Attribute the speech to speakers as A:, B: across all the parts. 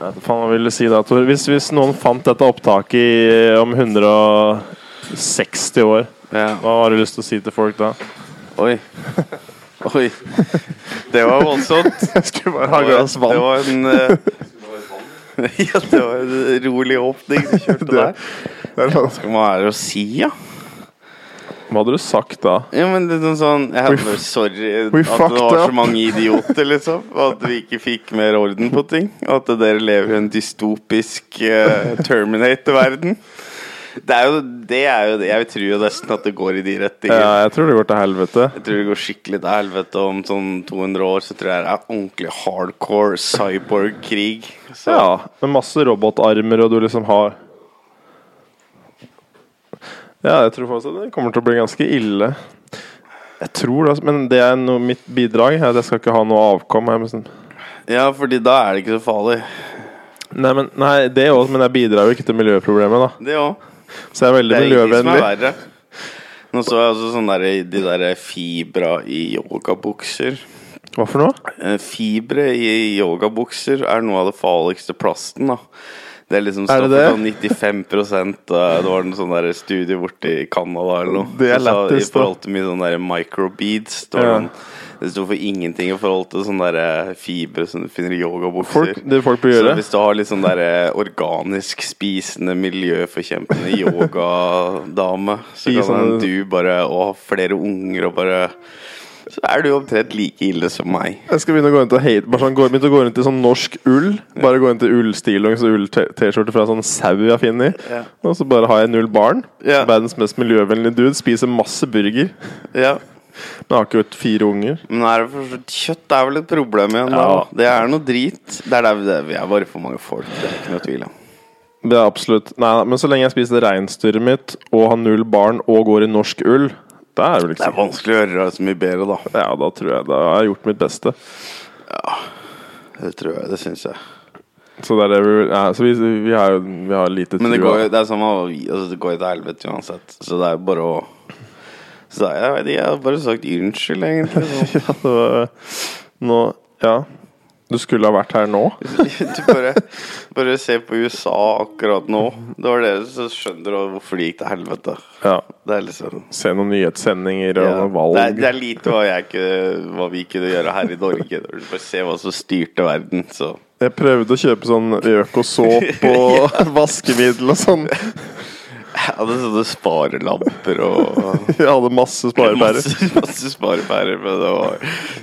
A: Jeg vet faen hva vil du si da, Tor. Hvis, hvis noen fant dette opptaket i, om 160 år,
B: Ja.
A: hva har du lyst til å si til folk da?
B: Oi. Oi. Det var voldsomt.
A: Jeg skulle bare ha et
B: Det var,
A: glass
B: det
A: vann.
B: var en eh, Ja, det var en rolig åpning du kjørte der. Hva er det å si, ja?
A: Hva hadde du sagt da?
B: Ja, men det er noe sånn Jeg
A: We
B: hadde
A: f-
B: bare sorry at
A: we
B: det
A: fucked
B: var
A: up.
B: så mange idioter, liksom. Og at vi ikke fikk mer orden på ting. Og at dere lever i en dystopisk eh, Terminator-verden. Det er jo det er jo det. Jeg tror jo nesten at det går i de retninger.
A: Ja, Eh, jeg tror det går til helvete.
B: Jeg tror det går skikkelig til helvete om sånn 200 år. Så tror jeg det er ordentlig hardcore cyborg-krig. Så
A: Ja, med masse robotarmer og du liksom har Ja, jeg tror faktisk at det kommer til å bli ganske ille. Jeg tror det, altså, men det er noe, mitt bidrag. er At jeg skal ikke ha noe avkom. Jeg, må sånn-
B: ja, fordi da er det ikke så farlig.
A: nei, men, nei, det også, men jeg bidrar jo ikke til miljøproblemet, da.
B: Det òg.
A: Så jeg er veldig
B: Det er ingenting som er
A: miljøvennlig.
B: verre. Nå så jeg også sånne der, de der fibra i yogabukser.
A: Hva for noe?
B: Eh, Fibre i yogabukser er noe av det farligste plasten, da. Det er liksom
A: Er det
B: står for sånn 95 eh, Det var en sånn der studie borte i Canada eller noe.
A: Det er
B: Så
A: lættis,
B: I forhold til mye sånne der microbeads. Det, var
A: Ja.
B: sånn- det sto for ingenting i forhold til sånne der eh, fibre som du finner i yogabukser.
A: Folk, det folk bør
B: Så
A: gjøre?
B: hvis du har litt sånn der eh, organisk spisende, miljøforkjempende yogadame, så
A: I
B: kan
A: sånne-
B: du bare og ha flere unger og bare Så er du omtrent like ille som meg.
A: Jeg skal begynne å gå rundt og hate Bare sånn, gå- begynne å gå rundt i sånn norsk ull. Bare gå rundt i ullstillongs og ull-T-skjorte fra sånn sau jeg finner.
B: Ja.
A: Og så bare har jeg null barn.
B: Ja.
A: Verdens mest miljøvennlige dude. Spiser masse burger.
B: Ja.
A: Men har ikke gjort fire unger.
B: Men er det for, kjøtt er vel et problem igjen? da?
A: Ja.
B: Det er noe drit. Det er, der, det er, vi er bare for mange folk. Det er ikke noe tvil om.
A: Det er absolutt Nei, nei, men så lenge jeg spiser reinsdyret mitt og har null barn og går i norsk ull, da er det vel
B: Det
A: ikke
B: er vanskelig å gjøre det så mye bedre, da.
A: Ja, da tror jeg da har jeg gjort mitt beste.
B: Det tror jeg, det syns jeg.
A: Så det er det vi ja, Så vi, vi har jo vi har lite
B: Men det
A: trua.
B: går jo det er samme, altså, det går jo til helvete uansett. Så det er jo bare å Så det er, jeg, vet ikke, jeg har bare sagt unnskyld, egentlig.
A: Ja, det var- Nå Ja. Du skulle ha vært her nå.
B: Du bare, bare se på USA akkurat nå. Det var dere som skjønner hvorfor det gikk til helvete.
A: Ja.
B: Det er liksom
A: Se noen nyhetssendinger og
B: ja.
A: noen valg.
B: det, er, det er lite hva, jeg kunne, hva vi kunne gjøre her i Norge. Når du bare ser hva som styrte verden, så
A: Jeg prøvde å kjøpe sånn økosåp og vaskemiddel og sånn.
B: Jeg hadde sånne sparelamper og
A: Jeg hadde masse sparepærer.
B: Masse, masse sparepærer, men det var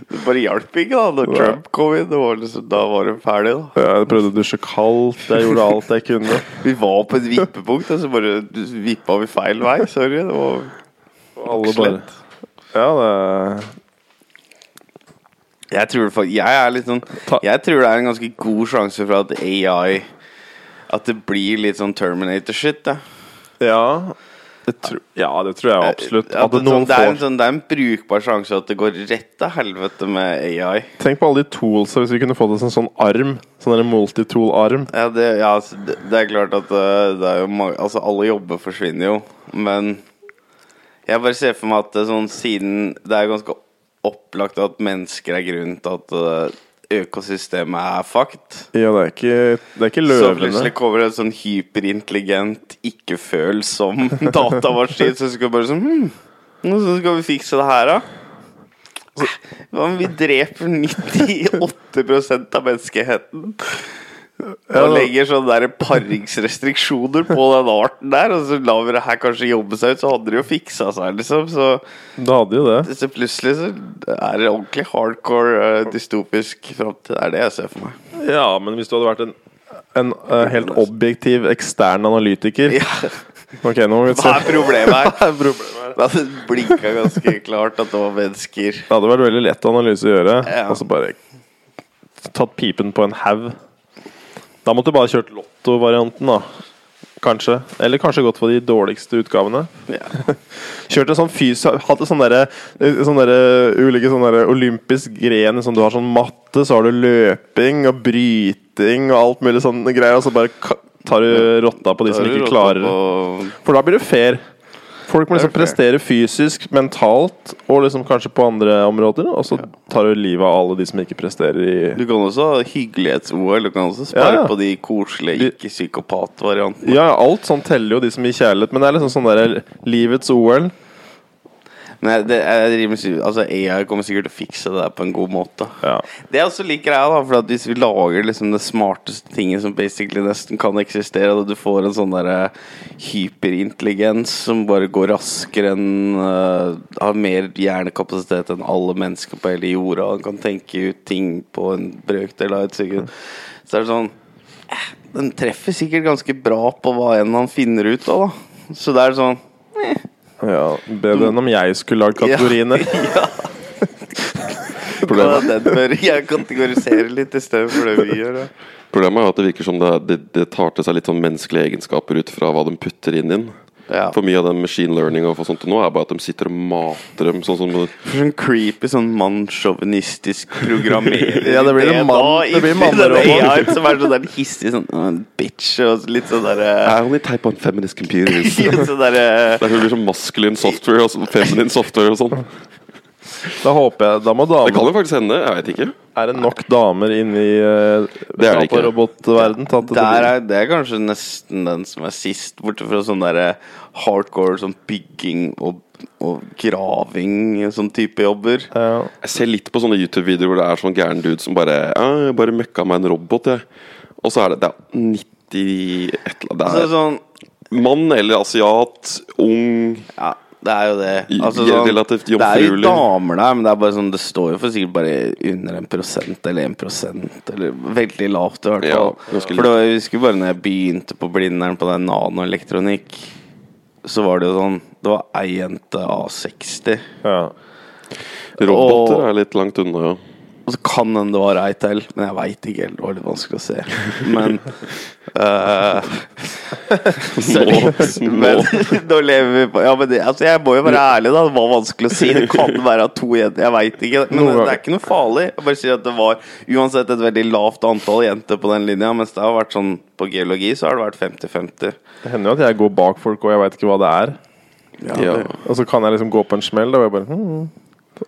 B: Det bare hjalp ikke, da. Når Trump kom inn, det var liksom, da var de ferdig, da.
A: Jeg prøvde å dusje kaldt. Jeg gjorde alt jeg kunne.
B: Vi var på et vippepunkt, og så bare vippa vi feil vei. Sorry. Det var
A: Og alle bare Ja, det er-
B: Jeg tror, det fak- jeg, er litt sånn,
A: Ta-
B: jeg tror det er en ganske god sjanse for at AI At det blir litt sånn Terminator-shit. da.
A: Ja. Det tro, ja, det tror jeg absolutt. At
B: At det,
A: noen
B: sånn, det, er en
A: får
B: sånn, det er en brukbar sjanse at det går rett til helvete med AI.
A: Tenk på alle de toolsa hvis vi kunne fått oss en sånn arm. Sånn der multitool-arm.
B: Ja, det, ja, altså, det, det er klart at eh, det er jo mange Altså, alle jobber forsvinner jo, men jeg bare ser for meg at det er sånn siden Det er ganske opplagt at mennesker er grunnen til at eh, økosystemet er fucked.
A: Ja, det er ikke, det er ikke
B: Så plutselig
A: løvene.
B: kommer det en sånn hyperintelligent, ikke-følsom datamaskin som skal bare sånn hm, nå skal vi fikse det her, da. Hva om vi dreper 98 av menneskeheten? Og legger sånne der paringsrestriksjoner på den arten der, og så lar vi det her kanskje jobbe seg ut, så hadde det jo fiksa seg, liksom. Så,
A: Det hadde jo det.
B: så plutselig så er det ordentlig hardcore eh, dystopisk framtid. Det er det jeg ser for meg.
A: Ja, men hvis du hadde vært en en eh, helt objektiv ekstern analytiker
B: Ja.
A: Ok, nå må vi
B: Hva er
A: se.
B: problemet her?
A: Problemet er
B: Det blinka ganske klart at det var mennesker.
A: Det hadde vært veldig lett analyse å gjøre.
B: Ja.
A: Og så bare tatt pipen på en haug. Da måtte du bare kjørt lottovarianten, da. Kanskje. Eller kanskje gått for de dårligste utgavene.
B: Ja.
A: Kjørt en sånn fys... Hatt en sånn derre sånn derre ulike sånn derre olympisk gren som du har sånn matte, så har du løping og bryting og alt mulig sånne greier, og så bare ka- tar du rotta på de som ikke klarer det.
B: Og
A: For da blir du fair. Folk må liksom
B: Det er
A: prestere fysisk, mentalt og liksom kanskje på andre områder. Og så tar du livet av alle de som ikke presterer i
B: Du kan også ha hyggelighets-OL. Du kan også spare
A: Ja, ja.
B: på de koselige ikke-psykopat-variantene.
A: Ja, alt sånn teller jo de som gir kjærlighet, men det er liksom sånn der livets OL.
B: Men jeg- det, jeg driver med sy- altså AI kommer sikkert til å fikse det der på en god måte.
A: Ja.
B: Det er også litt greia, da, for at hvis vi lager liksom det smarteste tinget som basically nesten kan eksistere, og du får en sånn derre hyperintelligens som bare går raskere enn eh, Har mer hjernekapasitet enn alle mennesker på hele jorda, og kan tenke ut ting på en brøkdel av et sekund, så er det sånn eh, Den treffer sikkert ganske bra på hva enn han finner ut av, da. Så det er sånn
A: ja Bedre enn om jeg skulle lagd kategoriene.
B: Ja. Ja,
A: Problemet.
B: den bør jeg kategorisere litt i stedet for det vi gjør. Da.
C: Problemet er jo at det virker som det, det, det tar til seg litt sånn menneskelige egenskaper ut fra hva de putter inn i den.
B: Ja.
C: For mye av den machine learning og sånt nå er bare at de sitter og mater dem sånn som
B: For sånn creepy, sånn mannssjåvinistisk programmering.
A: Ja, det blir en mann-
B: da,
A: det blir
B: i-
A: manneroman.
B: den AI Som er sånn der hissig sånn «Åh, bitch og litt sånn derre
C: I only type on feminist computers. det
B: Sånn derre
C: er jo blir sånn masculine software og sånn feminine software og sånn.
A: Da håper jeg Da må
C: Det kan
A: damer
C: jo faktisk hende, jeg veit ikke.
A: Er det nok damer inni uh,
C: Det er det ikke.
A: datarobotverden til at det
B: der
A: blir-
B: er, det er kanskje nesten den som er sist, bortsett fra sånn derre hardcore sånn bygging og, og graving, sånn type jobber.
A: Ja.
C: Jeg ser litt på sånne YouTube-videoer hvor det er sånn gæren dude som bare ja, jeg bare møkka meg en robot, jeg. Og så er det, det er 90 et eller
B: Så det er
C: annet.
B: sånn
C: Det er mann eller asiat, ung
B: Ja, det er jo det.
C: I-
B: Altså,
C: i-
B: sånn,
C: relativt
B: det er jo
C: jomfruelig.
B: damer der, men det er bare sånn Det står jo for sikkert bare under en prosent eller en prosent, eller veldig lavt i hvert
C: Ja,
B: fall.
C: ganske
B: for det var, jeg husker bare når jeg begynte på Blindern på den nanoelektronikk, så var det jo sånn Det var ei jente A60,
A: Ja.
C: Roboter
B: Og-
C: er litt langt unna, ja.
B: og så kan hende det var ei til, men jeg veit ikke helt. Det var litt vanskelig å se. Men eh,
C: Nå,
B: Men
C: nå.
B: nå lever vi på Ja, men det, altså, jeg må jo være ærlig, da. Det var vanskelig å si. Det kan være at to jenter Jeg veit ikke. Men
A: Noen
B: det er ikke noe farlig. Jeg bare sier at det var uansett et veldig lavt antall jenter på den linja. Mens det har vært sånn på geologi, så har det vært 50-50.
A: Det hender jo at jeg går bak folk, og jeg veit ikke hva det er.
C: Ja.
A: Og så kan jeg liksom gå på en smell, da, og jeg bare hmm,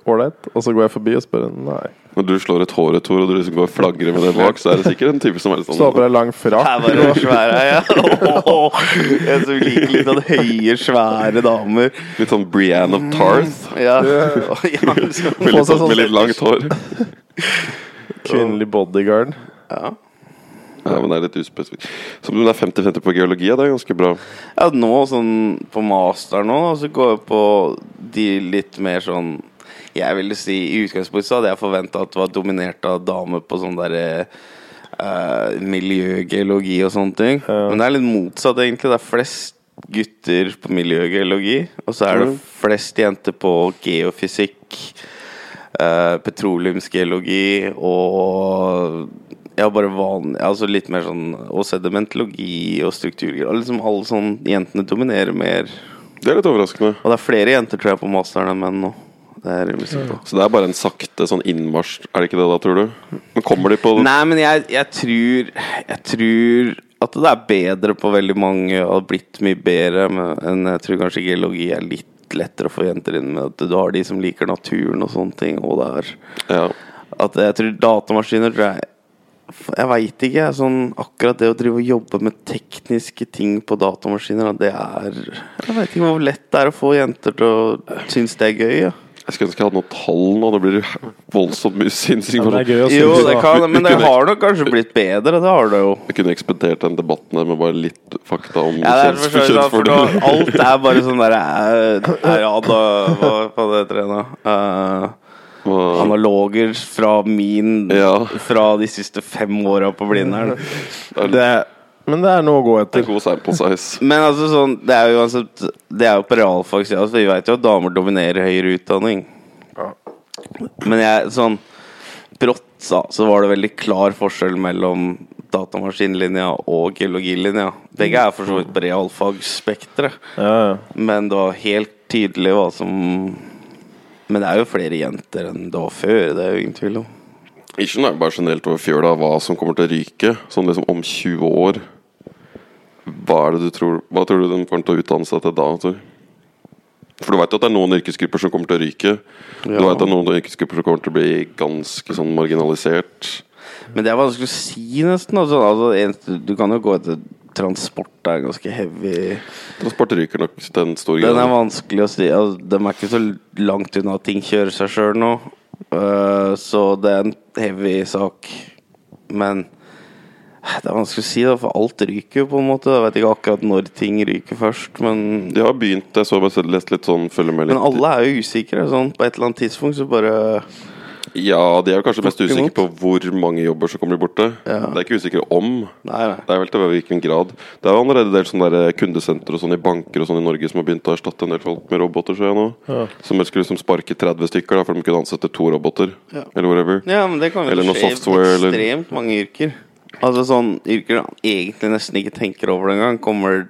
A: Ålreit. Og så går jeg forbi og spør Nei.
C: Når du slår et hår et hår, og du liksom går og flagrer med det bak, så er det sikkert en type som er litt
A: Så har på
C: sånn
A: deg lang
B: Her
A: frakk.
B: var det svære, ja. Åh, Jeg som liker litt sånn høye, svære damer.
C: Litt sånn Brianne of Tarth.
B: Ja. Ja,
A: Mm.
C: Med
B: sånn.
C: litt, sånn, med litt langt hår.
A: Kvinnelig bodyguard.
B: ja.
C: Ja, men det er litt uspesifikt. Så om det er 50-50 på geologi, ja, det er ganske bra.
B: Ja, nå sånn på master nå, da, så går jeg på de litt mer sånn Jeg ville si i utgangspunktet så hadde jeg forventa at det var dominert av damer på sånn derre eh, miljøgeologi og sånne ting. Men det er litt motsatt, egentlig. Det er flest gutter på miljøgeologi, og så er det flest jenter på geofysikk, eh, petroleumsgeologi og ja, bare van, altså litt mer sånn Og sedimentologi og strukturgreier. Liksom alle sånn Jentene dominerer mer.
C: Det er litt overraskende.
B: Og det er flere jenter, tror jeg, på masteren enn menn nå. Det er jeg rimelig sikker på.
C: Så det er bare en sakte sånn innmarsj, er det ikke det da, tror du? Men kommer de på
B: Nei, men jeg, jeg tror Jeg tror at det er bedre på veldig mange, og har blitt mye bedre, men enn jeg tror kanskje geologi er litt lettere å få jenter inn med. At du har de som liker naturen og sånne ting, og det er
C: Ja.
B: At jeg tror datamaskiner tror jeg, jeg veit ikke. jeg, Sånn, akkurat det å drive og jobbe med tekniske ting på datamaskiner, da, det er Jeg veit ikke hvor lett det er å få jenter til å synes det er gøy. Ja.
C: Jeg skulle ønske jeg hadde noen tall nå, det blir jo voldsomt mye
A: Men det er gøy altså.
C: sinnsinformasjon.
A: å
B: Jo,
A: synes,
B: det
A: da.
B: kan men det har nok kanskje blitt bedre. Det har det jo.
C: Jeg kunne ekspedert den debatten der med bare litt fakta om
B: Ja, det er for så vidt sant, for nå,
C: kjønnsfordeler.
B: alt er bare sånn derre Ja, da Hva faen heter det nå? Eh,
C: Hva-
B: analoger fra min
C: Ja.
B: Fra de siste fem åra på Blindern.
A: Det er, men det er noe å gå
C: Det er
A: etter.
C: god sample size.
B: Men altså sånn, det er jo uansett Det er jo på realfagssida, så vi veit jo at damer dominerer høyere utdanning. Men jeg sånn Brått sa, så var det veldig klar forskjell mellom datamaskinlinja og geologilinja. Begge er for så vidt på realfagsspekteret,
A: Ja, ja.
B: men det var helt tydelig hva som Men det er jo flere jenter enn det var før, det er jo ingen tvil om.
C: Ischen er jo bare generelt over fjøla hva som kommer til å ryke, sånn liksom om 20 år. Hva er det du tror Hva tror du den kommer til å utdanne seg til da? Tror? du? for du vet jo at det er noen yrkesgrupper som kommer til å ryke. Du vet at det er noen yrkesgrupper som kommer til å bli ganske sånn marginalisert.
B: Men det er vanskelig å si, nesten. Altså, altså, en- du kan jo gå etter transport er ganske heavy.
C: Transport ryker nok til en stor
B: Den er
C: grad.
B: vanskelig å si. Altså, de er ikke så langt unna at ting kjører seg sjøl nå. Eh, så det er en heavy sak. Men eh, det er vanskelig å si, da, for alt ryker jo på en måte. Jeg vet ikke akkurat når ting ryker først, men
C: De har begynt, jeg så bare lest litt sånn, følger med litt.
B: Men alle er jo usikre. Sånn. På et eller annet tidspunkt så bare
C: Ja, de er jo kanskje mest
B: Bortimot.
C: usikre på hvor mange jobber som kommer til å bli borte.
B: Ja.
C: Det er ikke usikre om.
B: Nei, nei.
C: Det er vel til hvilken grad. Det er jo allerede en del sånne der kundesenter og sånn i banker og sånn i Norge som har begynt å erstatte en del folk med roboter, ser jeg nå. Som skulle liksom sparke 30 stykker da, for de kunne ansette to roboter.
B: Ja.
C: Eller whatever.
B: Ja, men det kan jo
C: Eller noe
B: skje i
C: software, eller-
B: ekstremt mange yrker. Altså sånn yrker du egentlig nesten ikke tenker over det engang, kommer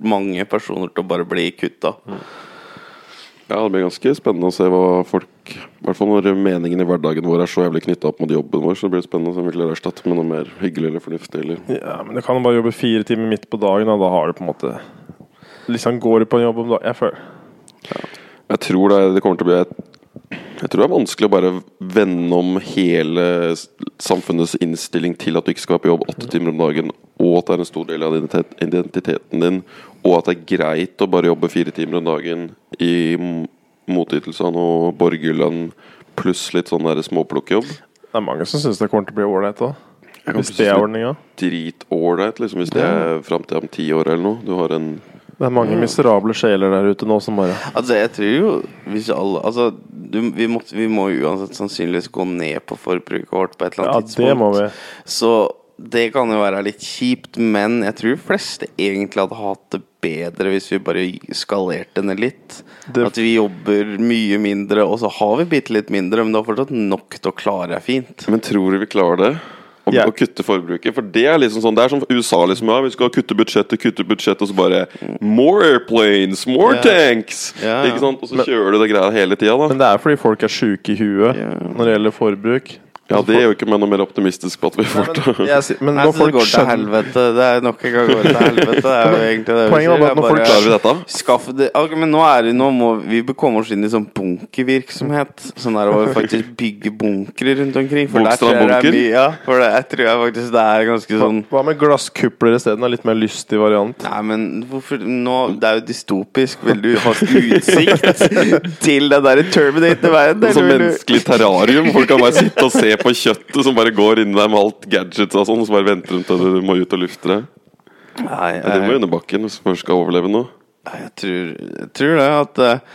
B: mange personer til å bare bli kutta.
C: Ja, det blir ganske spennende å se hva folk I hvert fall når meningen i hverdagen vår er så jævlig knytta opp mot jobben vår, så det blir spennende å se om vi klarer å erstatte med noe mer hyggelig eller fornuftig eller
A: Ja, men du kan jo bare jobbe fire timer midt på dagen, og da har du på en måte Liksom går du på en jobb om dagen Jeg føler
C: Jeg tror det, det kommer til å bli et jeg tror det er vanskelig å bare vende om hele s- samfunnets innstilling til at du ikke skal være på jobb åtte timer om dagen, og at det er en stor del av identitet- identiteten din, og at det er greit å bare jobbe fire timer om dagen i m- motytelse av noe borgerlønn pluss litt sånn der småplukkjobb.
A: det er mange som syns det kommer til å bli ålreit òg.
C: Jeg kan
A: Hvis det er ordninga.
C: dritålreit liksom, hvis det er fram til om ti år eller noe. Du har en
A: Det er mange miserable sjeler der ute nå som bare
B: Altså, jeg tror jo hvis alle Altså, du, vi, må, vi må jo uansett sannsynligvis gå ned på forbruket vårt på et eller
A: Ja,
B: annet tidspunkt.
A: det må vi.
B: Så det kan jo være litt kjipt, men jeg tror de fleste egentlig hadde hatt det bedre hvis vi bare skalerte ned litt.
A: Det-
B: At vi jobber mye mindre, og så har vi bitte litt mindre, men det er fortsatt nok til å klare deg fint.
C: Men tror du vi klarer det? Å,
A: Ja.
C: å kutte forbruket? For det er liksom sånn Det er som USA, liksom. Ja, vi skal kutte budsjettet, kutte budsjettet, og så bare More airplanes! More
B: Ja.
C: tanks!
B: Ja, ja.
C: Ikke sant? Og så kjører du det greia hele tida, da.
A: Men det er fordi folk er sjuke i huet
B: Ja.
A: når det gjelder forbruk.
C: ja, det gjør jo ikke meg noe mer optimistisk på at vi får
A: Men,
C: til
A: jeg, sier- men
B: Nei,
A: når
B: så det
A: folk
B: går til
A: skjønner
B: helvete. Det er nok en gang går til helvete. Det er jo egentlig det vi
A: Poenget var
B: sier,
A: bare at når
B: det er
A: folk
B: bare-
C: Klarer vi dette?
B: Skaff det ok, Men nå er det Nå må vi komme oss inn i sånn bunkervirksomhet. Sånn der å faktisk bygge bunkere rundt omkring. For der tror
C: Bogstad
B: jeg det er
C: bunker?
B: mye ja, For det, jeg tror jeg faktisk det er ganske sånn
A: Hva med glasskupler isteden? En litt mer lystig variant.
B: Nei, men hvorfor nå, Det er jo dystopisk. Vil du ha utsikt til den derre Terminator-verden?
C: Sånn
B: eller vil du-
C: menneskelig terrarium. Folk kan bare sitte og se på kjøttet som bare går inni deg med alt gadgets og sånn, og så bare venter de til du må ut og lufte det.
B: Nei,
C: Ja, de må
B: jeg-
C: under bakken hvis folk skal overleve nå.
B: Nei, Jeg tror, jeg tror det at eh,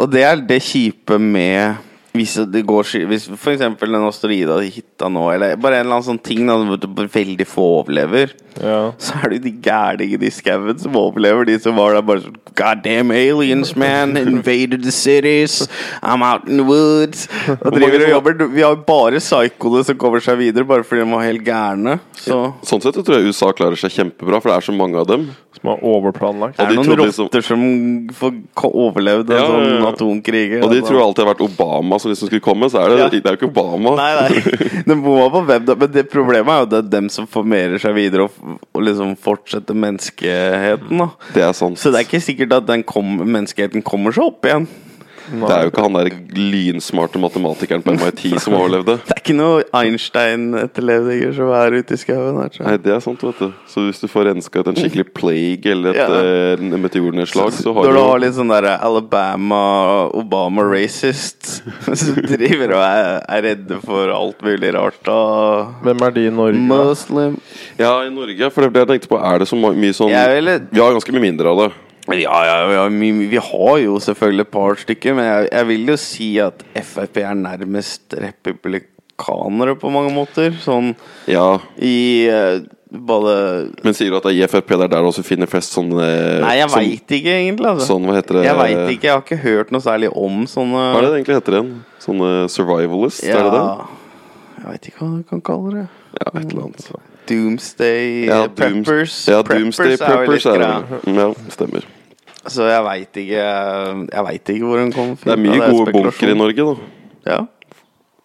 B: Og det er det kjipe med hvis det går ski- Hvis for eksempel den asteroida-hytta nå, eller bare en eller annen sånn ting da, hvor det bare veldig få overlever,
A: Ja.
B: så er det jo de gærningene i skauen som overlever, de som var der bare sånn God damn aliens, man! Invaded the cities! I'm out in the woods! Og driver og jobber. Vi har bare psykoene som kommer seg videre, bare fordi de var helt gærne. Så
C: Sånn sett så tror jeg USA klarer seg kjempebra, for det er så mange av dem.
A: Som er overplanlagt.
C: Ja,
B: det er
C: de
B: noen
C: trodde liksom-
B: rotter som får ko- overlevde
C: Ja,
B: en
C: ja,
B: sånn
C: ja.
B: atomkrig.
C: Og de
B: altså.
C: tror alltid det har vært Obama som liksom skulle komme, så er det,
B: Ja.
C: det er jo ikke Obama.
B: Nei, nei. Det må være på hvem da. Men det problemet er jo at det er dem som formerer seg videre og, f- og liksom fortsetter menneskeheten. da
C: Det er sant.
B: Så det er ikke sikkert at den kom, menneskeheten kommer seg opp igjen.
C: Det er jo ikke han der lynsmarte matematikeren på MIT som overlevde.
B: Det er ikke noe Einstein-etterlevninger som er ute i skauen. her, tror
C: Nei,
B: jeg.
C: det er sant, vet du. Så hvis du får renska ut en skikkelig plague eller et
B: Ja.
C: eh, meteornedslag, så har
B: Når
C: du
B: du har litt sånn der Alabama-Obama-racist som driver og er, er redde for alt mulig rart og
A: Hvem er de i Norge? da?
B: Muslim
C: Ja, i Norge, for det ble jeg tenkte på, er det så ma- mye sånn
B: Jeg ville-
C: Vi har ganske mye mindre av det.
B: Ja, ja, ja vi, vi har jo selvfølgelig et par stykker, men jeg, jeg vil jo si at Frp er nærmest republikanere på mange måter. Sånn
C: Ja.
B: i eh, både
C: Men sier du at det er i Frp det er der du også finner flest sånne
B: Nei, jeg
C: Eh, som-
B: veit ikke, egentlig. Altså.
C: sånn, hva heter det?
B: Jeg veit ikke, jeg har ikke hørt noe særlig om sånne
C: Hva er det det egentlig heter igjen? Sånne survivalists, er det det?
B: Jeg veit ikke hva du kan kalle det.
C: Ja, et eller annet.
B: Doomsday
C: Ja, dooms-
B: Preppers.
C: Ja,
B: jo
C: Doomsday Eh, Preppers er
B: greia.
C: det. vel. Ja, stemmer.
B: Så jeg veit ikke Jeg vet ikke hvor hun kom fra.
C: Det er mye gode bunker i
B: spekulasjon.
C: Norge, da.
B: Ja.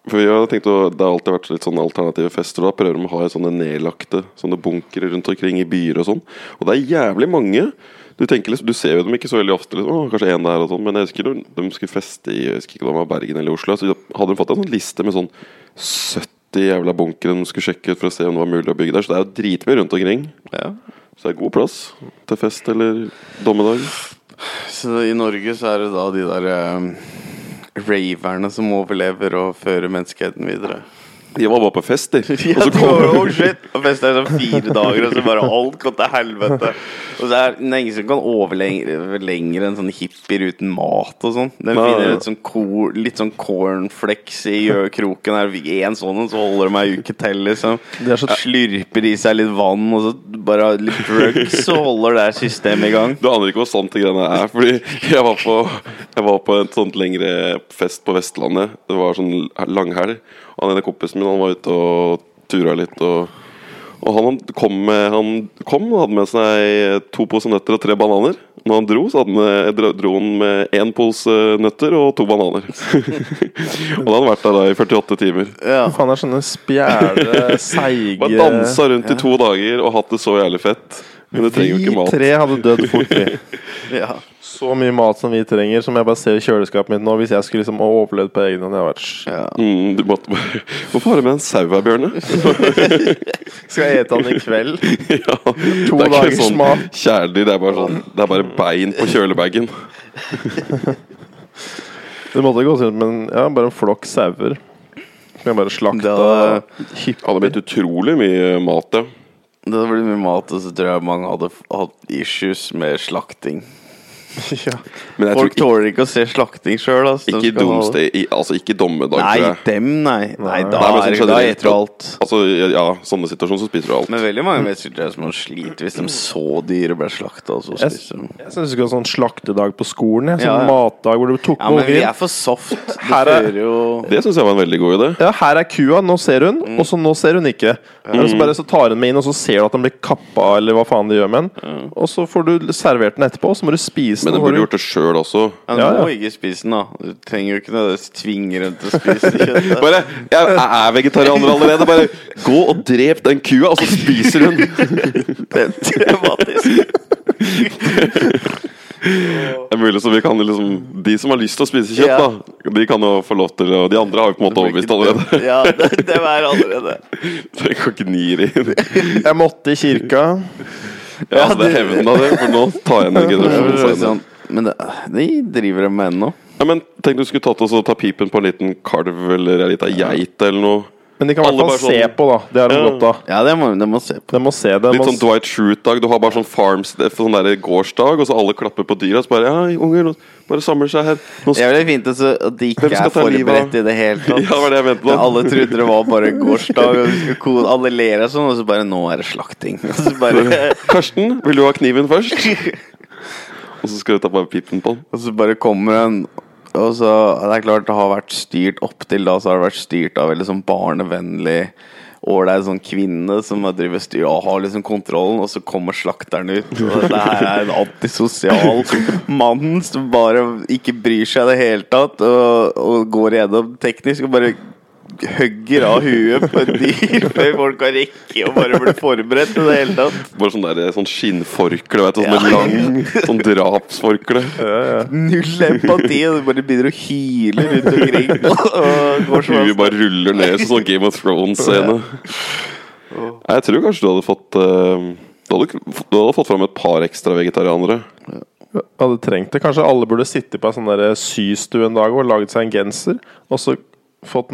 C: For vi har tenkt å, Det har alltid vært litt sånne alternative fester. og Da prøver de å ha sånne nedlagte sånne bunkere rundt omkring i byer og sånn. Og det er jævlig mange Du tenker liksom, du ser jo dem ikke så veldig ofte, liksom. Åh, kanskje en der og sånn, men jeg husker når de skulle feste i jeg husker ikke om det var Bergen eller Oslo. Så hadde de fått en sånn liste med sånn 70 jævla bunkere de skulle sjekke ut for å se om det var mulig å bygge der. Så det er jo dritmye rundt omkring.
B: Ja.
C: Så det er god plass til fest eller dommedag.
B: Så i Norge så er det da de der eh, raverne som overlever og fører menneskeheten videre.
C: De var bare på fest, de.
B: Ja,
C: og så
B: de var,
C: kommer
B: oh shit, og festa i sånn fire dager, og så bare alt går til helvete. Og så er det ingen som kan overleve lenger enn sånne sånn hippier uten mat og sånn. Den
C: Nei.
B: finner et sånn kor, litt sånn cornflakes i gjøkroken. Er det én sånn en, så holder de ei uke til, liksom.
A: Det er så-
B: Slurper i seg litt vann, og så bare litt drugs, så holder det her systemet i gang.
C: Du aner ikke hvor sant de greiene er. Fordi jeg var på, jeg var på en sånt lengre fest på Vestlandet. Det var sånn langhelg. Og han ene kompisen min han var ute og tura litt. Og, og han kom med Han kom og hadde med seg to poser nøtter og tre bananer. Når han dro, så hadde han med, dro, dro han med én pose nøtter og to bananer. og da hadde han vært der da i 48 timer.
B: Ja.
A: Faen, det er sånne spjæle, seige
C: Bare dansa rundt i to dager og hatt det så jævlig fett. Men du trenger jo ikke
A: Vi
C: mat.
A: tre hadde dødd fort, vi.
B: ja.
A: Så mye mat som vi trenger, som jeg bare ser i kjøleskapet mitt nå. Hvis jeg skulle liksom overlevd på egen hånd, jeg hadde vært sj-
B: ja.
C: Mm, du måtte bare Hvorfor har du med en sau her, Bjørne?
A: Skal jeg ete den i kveld?
C: ja,
A: To
C: det er ikke
A: dagers
C: sånn
A: mat.
C: kjæledyr, det er bare sånn Det er bare bein på kjølebagen.
A: Det måtte gå sånn, men ja, bare en flokk sauer. Som jeg bare slakta.
B: Da-
A: Hipp-
C: Ja, det ble utrolig mye mat, ja.
B: Det hadde blitt mye mat, og så tror jeg mange hadde f- hatt issues med slakting.
A: ja.
C: Men jeg
B: Folk
C: tror ikke,
B: tåler ikke å se slakting sjøl. Altså.
C: ikke domste i- Altså ikke dommedag, tror
B: Nei,
C: jeg.
B: dem, nei. Nei, da,
C: Nei, men
B: er
C: sånn
B: det- da
C: generelt,
B: eter du alt.
C: Altså, ja, sånne situasjoner så spiser du alt.
B: Men veldig mange mennesker tror jeg som sliter hvis de så dyret ble slakta. Altså,
A: Jeg,
B: spiser dem.
A: jeg syns vi skulle ha sånn slaktedag på skolen. Jeg. Sånn
B: Ja, ja.
A: matdag hvor du tok
B: ja,
A: med
B: men vi
A: ungen.
B: er for soft. Det
A: Her er-
B: fører jo
C: Det syns jeg var en veldig god idé.
A: Ja, her er kua, nå ser hun,
C: Mm.
A: og så nå ser hun ikke. Og så bare så tar hun med inn, og så ser du at den blir kappa, eller hva faen de gjør med den. Og så får du servert den etterpå, og så må du spise
C: Men
A: den.
C: du
A: hvor
C: burde gjort det sjøl også.
B: ja,
A: Ja,
B: Du
A: ja.
B: må ikke spise den, da. Du trenger jo ikke nødvendigvis tvinge dem til å spise kjøttet.
C: Bare, jeg, jeg er vegetarianer allerede. Bare gå og drep den kua, og så spiser hun!
B: Det er tematisk.
C: Det er mulig, så vi kan liksom De som har lyst til å spise kjøtt,
B: Ja.
C: da, de kan jo få lov til å De andre har jo på en måte overbevist allerede.
B: Ja, det, det er allerede.
C: Trenger ikke å gni det inn.
A: Jeg måtte i kirka.
C: Ja, altså, det er hevnen av det, for nå tar jeg en generasjon senere.
B: Sånn. Men det, de driver dem med ennå.
C: Ja, men tenk du skulle tatt oss og ta pipen på en liten kalv eller ei lita geit eller noe.
A: Men de kan i
C: Alle
A: hvert fall
C: bare
A: se
C: sånn-
A: på, da. Det har de
C: Ja.
A: godt av.
B: Ja, det må de må se på.
A: De må se det. de
C: Litt
A: må
C: sånn Dwight Schrute-dag. Du har bare sånn farms sånn der gårdsdag, og så alle klapper på dyra. Så bare Ja, unger, nå- bare samler seg her. Nå
B: Det er vel fint altså, at de ikke
C: Hvem skal
B: er
C: ta livet av-
B: forberedt i det hele tatt.
C: Ja, det var det jeg mente nå.
B: Men Alle trodde det var bare en gårsdag, og vi skulle kode. alle ler og sånn, og så bare Nå er det slakting. Og så bare,
C: Karsten, vil du ha kniven først? Og så skal du ta bare pipen på den.
B: og så bare kommer en og så, Det er klart det har vært styrt opp til da, så har det vært styrt av veldig sånn barnevennlig Ålreit sånn kvinne som har drivet styr og har liksom kontrollen, og så kommer slakteren ut. Og dette her er en antisosial mann som bare ikke bryr seg i det hele tatt, og, og går gjennom teknisk og bare hugger av huet på et dyr før folk har rekke og bare blir forberedt i det hele tatt.
C: Bare sånn der, sånn skinnforkle, vet du. Sånn med
B: Ja.
C: lang sånn drapsforkle.
B: Null empati, og du bare begynner å hyle rundt omkring. Og går som
C: Huet bare ruller ned som sånn Game of Thrones-scene. Nei, Jeg tror kanskje du hadde fått eh, Du hadde, k- du hadde fått fram et par ekstra vegetarianere.
A: Hadde trengt det. Kanskje alle burde sitte på en sånn der systue en dag og laget seg en genser, og så fått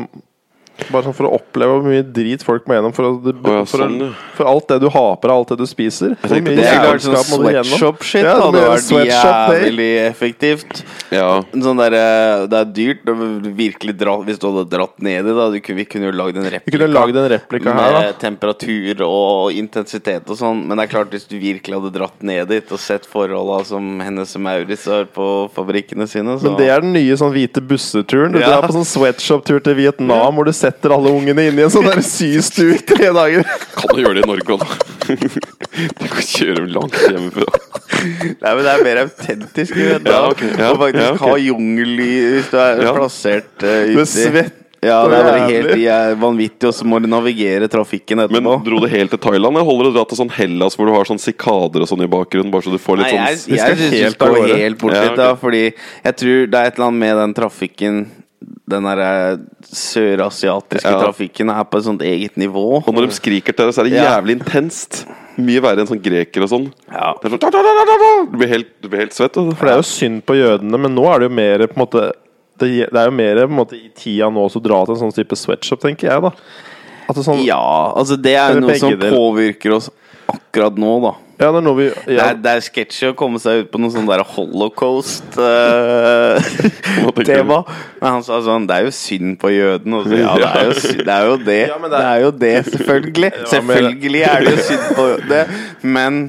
A: Bare sånn for å oppleve hvor mye drit folk må gjennom for, å,
C: ja,
A: for,
C: sånn,
A: å,
C: ja.
A: for alt det du har på deg, alt det du spiser. Hvor
C: tenkte
A: mye
B: Det er klart sånn
A: jævelskap må du gjennom?
B: sweatshop-shit.
A: Ja,
B: da,
A: det
B: det
A: blir
B: hadde vært
A: sweatshop day.
B: jævlig effektivt.
C: Ja,
B: En Sånn der, eh, det er dyrt. og Virkelig dra, hvis du hadde dratt ned i det, da, du kunne, vi kunne jo lagd
A: Vi
B: en
A: kunne
B: replika.
A: lagd en replika her, da.
B: Med temperatur og intensitet og sånn. Men det er klart hvis du virkelig hadde dratt ned dit og sett forholda som Hennes og Maurits har på fabrikkene sine, så
A: Men det er den nye sånn hvite busseturen. Du
B: Ja.
A: drar på sånn sweatshop-tur til Vietnam hvor du setter alle ungene inn i en sånn der systue i tre dager.
C: kan du gjøre det i Norge òg, da? Du kan kjøre dem langt hjemmefra.
B: Nei, men det er mer autentisk. Du vet, da.
C: Ja, ok, ja,
B: og faktisk
C: ja, ok.
B: ha jungellyd hvis du er
C: Ja.
B: plassert uh,
A: Du
B: uti.
A: svetter
B: Ja, det er bare helt
A: Jævlig.
B: de er vanvittig, og så må du navigere trafikken
C: Men
B: etterpå.
C: dro det helt til Thailand? Eller holder det å dra til sånn Hellas hvor du har sånn sikader og sånn i bakgrunnen? Bare så du får
B: Nei,
C: litt
B: jeg,
C: sånn
A: Vi skal
B: jeg syns
A: helt
B: du
A: av
B: går
A: gårde.
B: helt bort
C: Ja,
B: litt, da, fordi jeg tror det er et eller annet med den trafikken Den derre sørasiatiske
C: Ja.
B: trafikken er på et sånt eget nivå.
C: Og når de skriker til deg, så er det
B: Ja.
C: jævlig intenst. Mye verre enn sånn greker og sånn.
B: Ja.
C: Det er sånn, da, da, da, da, da, da. Du, blir helt, du blir helt svett. altså.
A: For det er jo synd på jødene, men nå er det jo mer på en måte Det, det er jo mer på en måte i tida nå å dra til en sånn type sweatshop, tenker jeg, da. At det er sånn, ja.
B: Ja, altså det er
A: Eller
B: jo noe
A: begge
B: som
A: deler.
B: påvirker oss akkurat nå, da.
A: det er noe vi
B: Det
A: ja,
B: er, det er sketsjy å komme seg ut på noe sånn der holocaust-tema.
C: tenker du?
B: men han sa sånn Det er jo synd på jøden. Og så, ja, det er jo, sy- det er jo det.
A: Ja, men
B: det,
A: det
B: er,
A: er-
B: jo det, selvfølgelig.
A: Ja, men-
B: Selvfølgelig er det jo synd på det. Men,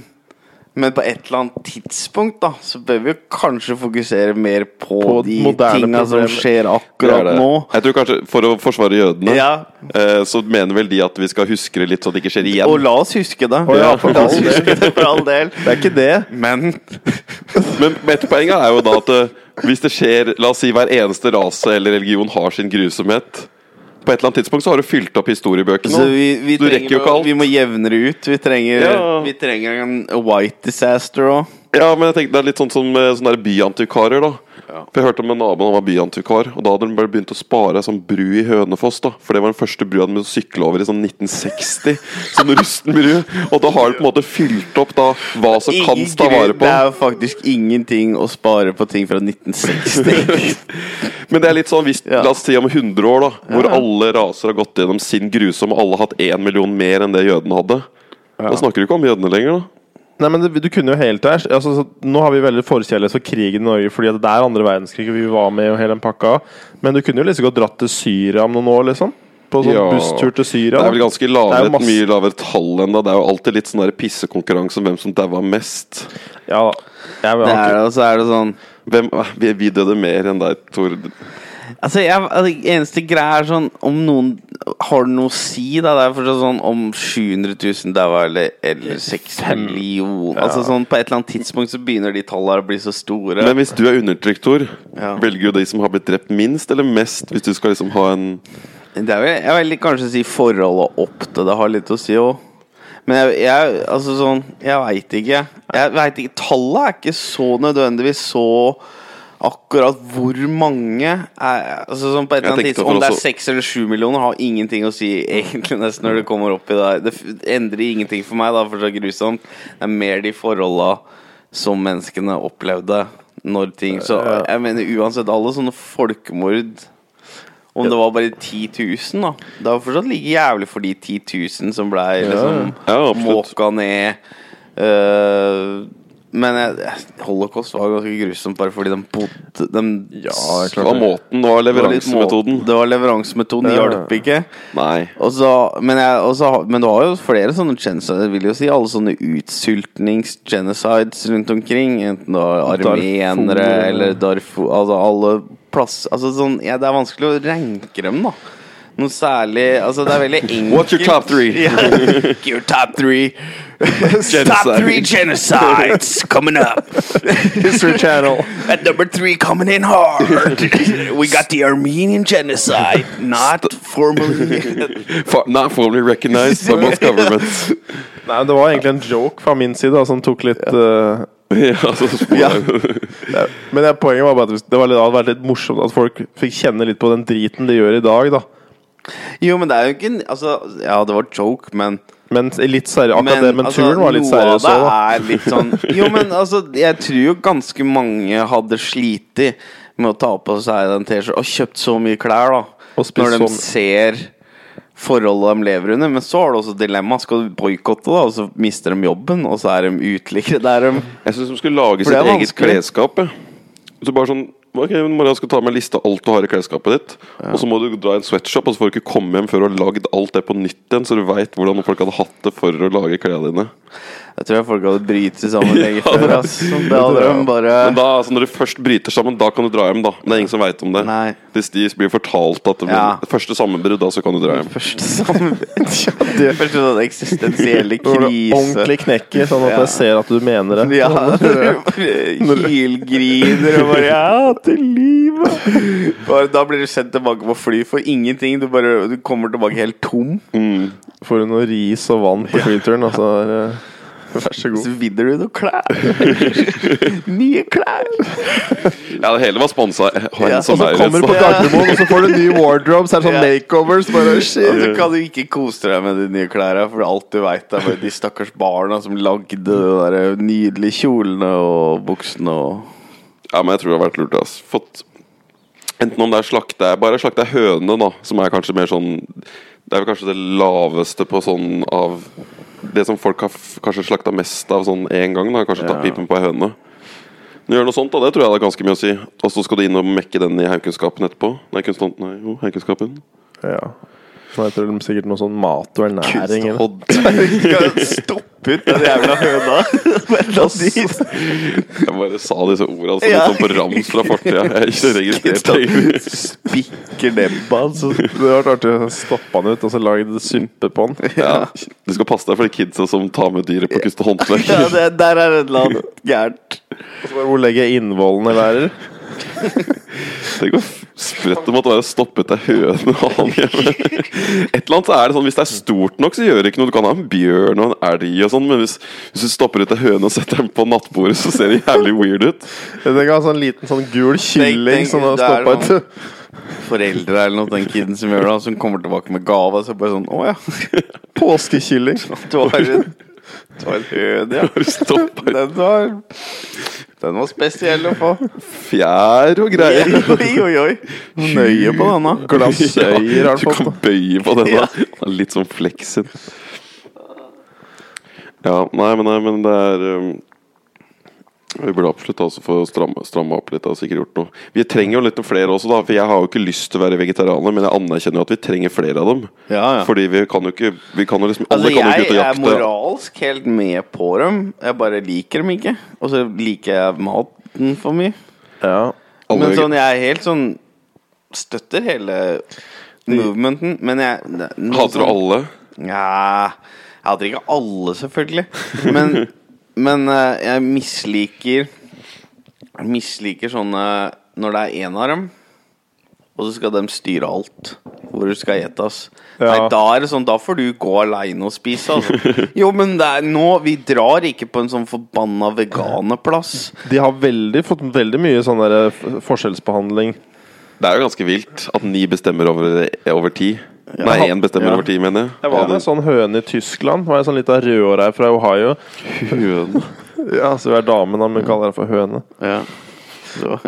B: men på et eller annet tidspunkt da så bør vi jo kanskje fokusere mer på,
A: På
B: de
A: moderne
B: tinga som
A: problemer.
B: skjer
C: Det er
B: akkurat
C: det.
B: nå.
C: Jeg tror kanskje For å forsvare jødene,
B: Ja.
C: eh, så mener vel de at vi skal huske det litt, så det ikke skjer igjen.
B: Og la oss huske det.
A: Å ja,
B: la oss huske det for all del.
A: Det er ikke det.
B: Men
C: Men men et poeng er jo da at eh, hvis det skjer La oss si hver eneste rase eller religion har sin grusomhet. På et eller annet tidspunkt så har du fylt opp historiebøkene.
B: Så Altså, vi, vi,
C: du rekker jo ikke alt.
B: Vi må jevnere ut. Vi trenger,
C: Ja.
B: vi trenger en white disaster òg.
C: Ja, men jeg tenkte det er litt sånn som eh, sånne der byantikvarer, da. For Jeg hørte om en nabo han var byantikvar, og da hadde han bare begynt å spare ei sånn bru i Hønefoss. da For det var den første brua han begynte å sykle over i sånn 1960. Sånn rusten bru. Og da har du på en måte fylt opp da hva som kan ta vare
B: Det
C: på.
B: er jo faktisk ingenting å spare på ting fra 1960.
C: Men det er litt sånn hvis,
B: Ja.
C: la oss si om 100 år, da hvor alle raser har gått gjennom sin grusomme, alle har hatt én million mer enn det jødene hadde. Da snakker du ikke om jødene lenger, da.
A: Nei, men det, Du kunne jo helt der. Altså, så, nå har vi veldig forkjærlighet for krigen i Norge fordi at det er andre verdenskrig, og vi var med og hele den pakka. Men du kunne jo liksom godt dratt til Syria om noen år, liksom. På sånn
C: Ja.
A: busstur til Syria.
C: Det
A: da.
C: er vel ganske
A: Det er
C: lavere,
A: jo masse-
C: mye lavere tall enn da. Det er jo alltid litt sånn der pissekonkurranse om hvem som daua mest.
A: Ja, da. jeg,
B: Det er, og så er det sånn
C: Hvem, ah, vi, vi døde mer enn deg, Tor.
B: Altså, jeg, altså, eneste greia er sånn Om noen har det noe å si, da. Det er fortsatt sånn om 700 000 daua eller, eller 6 millioner Altså sånn På et eller annet tidspunkt så begynner de tallene å bli så store.
C: Men hvis du er undertrykt, Tor,
B: Ja.
C: velger du de som har blitt drept minst eller mest? Hvis du skal liksom ha en
B: Det er vel, jeg vil kanskje si forholdet opp til det har litt å si òg. Men jeg, jeg altså sånn Jeg veit ikke. Jeg vet ikke. Tallet er ikke så nødvendigvis så Akkurat hvor mange er, altså sånn på et eller
C: Jeg
B: annet
C: tenkte
B: tidspunkt, Om
C: for
B: det er
C: også-
B: seks eller sju millioner, har ingenting å si egentlig nesten når det kommer opp i det. her. Det f- endrer ingenting for meg, da, for det er grusomt. Det er mer de forholda som menneskene opplevde når ting Så jeg mener uansett, alle sånne folkemord om det var bare 10 000, da. Det var fortsatt like jævlig for de 10 000 som blei liksom,
C: Ja, absolutt.
B: måka ned. Eh, men jeg, holocaust var ganske grusomt bare fordi de bodde de,
A: Ja, klart.
C: Det var måten, det var
B: Det var litt må-
C: leveransemetoden.
B: Det var leveransemetoden,
A: Ja.
B: hjalp ikke.
C: Nei.
B: Og så, men, jeg, og så har- men du har jo flere sånne genocides, jeg vil jo si. Alle sånne utsultnings-genocides rundt omkring. Enten du har
A: Darfur.
B: armenere eller Darfur Altså alle plass... Altså sånn ja, Det er vanskelig å ranke dem, da. Noe særlig Altså, det er veldig enkelt
C: What's your top three?
B: Ja. Your top three Top three genocides coming up.
A: History Channel.
B: At number three, coming in hard, we got the Armenian genocide, not formally
C: For, not formally recognized by most governments.
A: Nei, det var egentlig en joke fra min side da, som tok litt eh,
C: ja, så spør
A: Ja.
C: jeg.
A: det- Men det, poenget var bare at hvis- det, var litt, det hadde vært litt morsomt at folk fikk kjenne litt på den driten de gjør i dag, da.
B: Jo, men det er jo ikke en Altså, ja, det var joke, men
A: Men litt seriøst Akkurat det, men
B: altså,
A: turen var litt
B: noe av
A: seriøs òg, da.
B: Det er litt sånn Jo, men altså, jeg tror jo ganske mange hadde slitt med å ta på seg den T-skjorta og kjøpt så mye klær, da.
A: Og spist
B: når
A: så
B: de
A: mye.
B: ser forholdet de lever under. Men så har du også dilemma. Skal du boikotte, da, og så mister de jobben, og så er de uteliggere? Det er de
C: Jeg syns de skulle lage
B: For det
C: sitt
B: er
C: eget
B: vanskelig.
C: klesskap. jeg. Så bare sånn Ok, men Maria skal ta med en liste av alt du har i klesskapet ditt. Og så må du dra i en sweatshop, og så får du ikke komme hjem før du har lagd alt det på nytt igjen, så du veit hvordan folk hadde hatt det for å lage klærne dine.
B: Jeg tror folk hadde brytet sammen lenge
C: Ja,
B: før,
C: det-
B: ass. Det hadde de bare
C: Men da, altså, når du først bryter sammen, da kan du dra hjem, da. Men det er ingen som veit om det.
B: Nei.
C: Hvis de blir fortalt at det blir
B: Ja.
C: det første sammenbrudd, da så kan du dra hjem.
B: Første sammenbrudd. Første sånn eksistensielle
A: Når du ordentlig
B: krise.
A: knekker, sånn at
B: Ja.
A: jeg ser at du mener det.
B: Ja, hylgriner og bare Ja, til liv
A: livet!
B: Bare, da blir du sendt tilbake på fly for ingenting. Du, bare, du kommer tilbake helt tom.
A: Får du noe ris og vann på flyturen, altså er, eh, Vær så god.
B: Så vinner du noen klær. Nye klær.
C: Ja, det hele var sponsa.
B: Ja,
C: Han
A: Og
C: som
A: så
C: er
A: kommer du på
C: rett, da.
A: Gardermoen, og så får du ny wardrobe, så er det sånn
B: Ja.
A: makeovers. Bare
B: Og
A: shit.
B: så kan du ikke kose deg med de nye klærne, for alt du veit, er bare de stakkars barna som lagde de der nydelige kjolene og buksene og
C: Ja, men jeg tror det har vært lurt. Ass. Fått Enten om det er slakte Bare slakte høne, da, som er kanskje mer sånn Det er vel kanskje det laveste på sånn av Det som folk har f kanskje slakta mest av sånn én gang. da Kanskje tatt
B: Ja.
C: pipen på ei høne. Men gjør noe sånt, da, det tror jeg det er ganske mye å si. Og så skal du inn og mekke den i Haukunnskapen etterpå. Nei, kunstneren, nei, jo, Haukunnskapen.
A: Ja. Nå heter det sikkert noe sånn mat og ernæring. eller-
B: Stopp ut den jævla høna! Men la de-
C: Jeg bare sa disse ordene altså,
B: Ja.
C: litt sånn på rams fra fortida. Jeg har ikke registrerte det.
B: Spikker nebba altså.
A: Det hadde vært artig å stoppe han ut og så lagd suppe på han.
C: Ja. Du skal passe deg for de kidsa som tar med dyret på kunst og håndverk.
B: Ja, det, der er et eller annet gærent.
A: Og så bare, Hvor legger jeg innvollene, lærer?
C: Tenk hvor sprøtt det måtte være å stoppe etter høne og han hjemme. Et eller annet så er det sånn, Hvis det er stort nok, så gjør det ikke noe. Du kan ha en bjørn og en elg og sånn, men hvis, hvis du stopper etter høne og setter den på nattbordet, så ser det jævlig weird ut.
A: Jeg tenker altså en liten sånn gul kylling
B: tenk,
A: som har
B: det er
A: stoppa
B: noe-
A: et
B: Foreldre eller noe, den kiden som gjør det, som kommer tilbake med gave, så bare sånn Å ja,
A: påskekylling.
B: du har en, du har en høne, ja.
C: Bare stopper
B: Den var, den var spesiell å få.
C: fjær og greier.
B: Oi, oi, oi. Nøye på denne. eh,
A: Glassøyer har han
C: Ja, du
A: fått.
C: kan
A: da.
C: bøye på den.
B: Ja.
C: da. Den er Litt sånn flexen. Ja, nei, men, nei, men det er um, Vi burde absolutt altså få stramme, stramme opp litt. Altså, ikke gjort noe. Vi trenger jo litt flere også, da. For jeg har jo ikke lyst til å være vegetarianer, men jeg anerkjenner jo at vi trenger flere av dem.
B: Ja, ja.
C: Fordi vi kan jo ikke Vi kan jo liksom Alle
B: Altså,
C: kan jo ikke
B: jeg
C: ut og
B: er
C: jakte.
B: moralsk helt med på dem. Jeg bare liker dem ikke. Og så liker jeg maten for mye.
A: Ja.
C: Alle-
B: Men sånn, jeg er helt sånn Støtter hele movementen, men jeg det er noe
C: Hater du
B: sånn-
C: alle?
B: Nja Jeg hater ikke alle, selvfølgelig. Men, men eh, jeg misliker Jeg misliker sånne Når det er én av dem, og så skal de styre alt. Hvor du skal gjetes.
A: Ja.
B: Nei, da er det sånn Da får du gå aleine og spise, altså. Jo, men det er nå Vi drar ikke på en sånn forbanna veganerplass.
A: De har veldig, fått veldig mye sånn der f- forskjellsbehandling.
C: Det er jo ganske vilt at ni bestemmer over, over ti. Nei, én bestemmer
A: Ja.
C: over ti, mener jeg.
A: Jeg var med en sånn høne i Tyskland. Var en sånn lita rødhåra fra Ohio.
C: Høne.
A: Ja, så vi er damen, da, men vi kaller henne for høne.
B: Ja. Det var,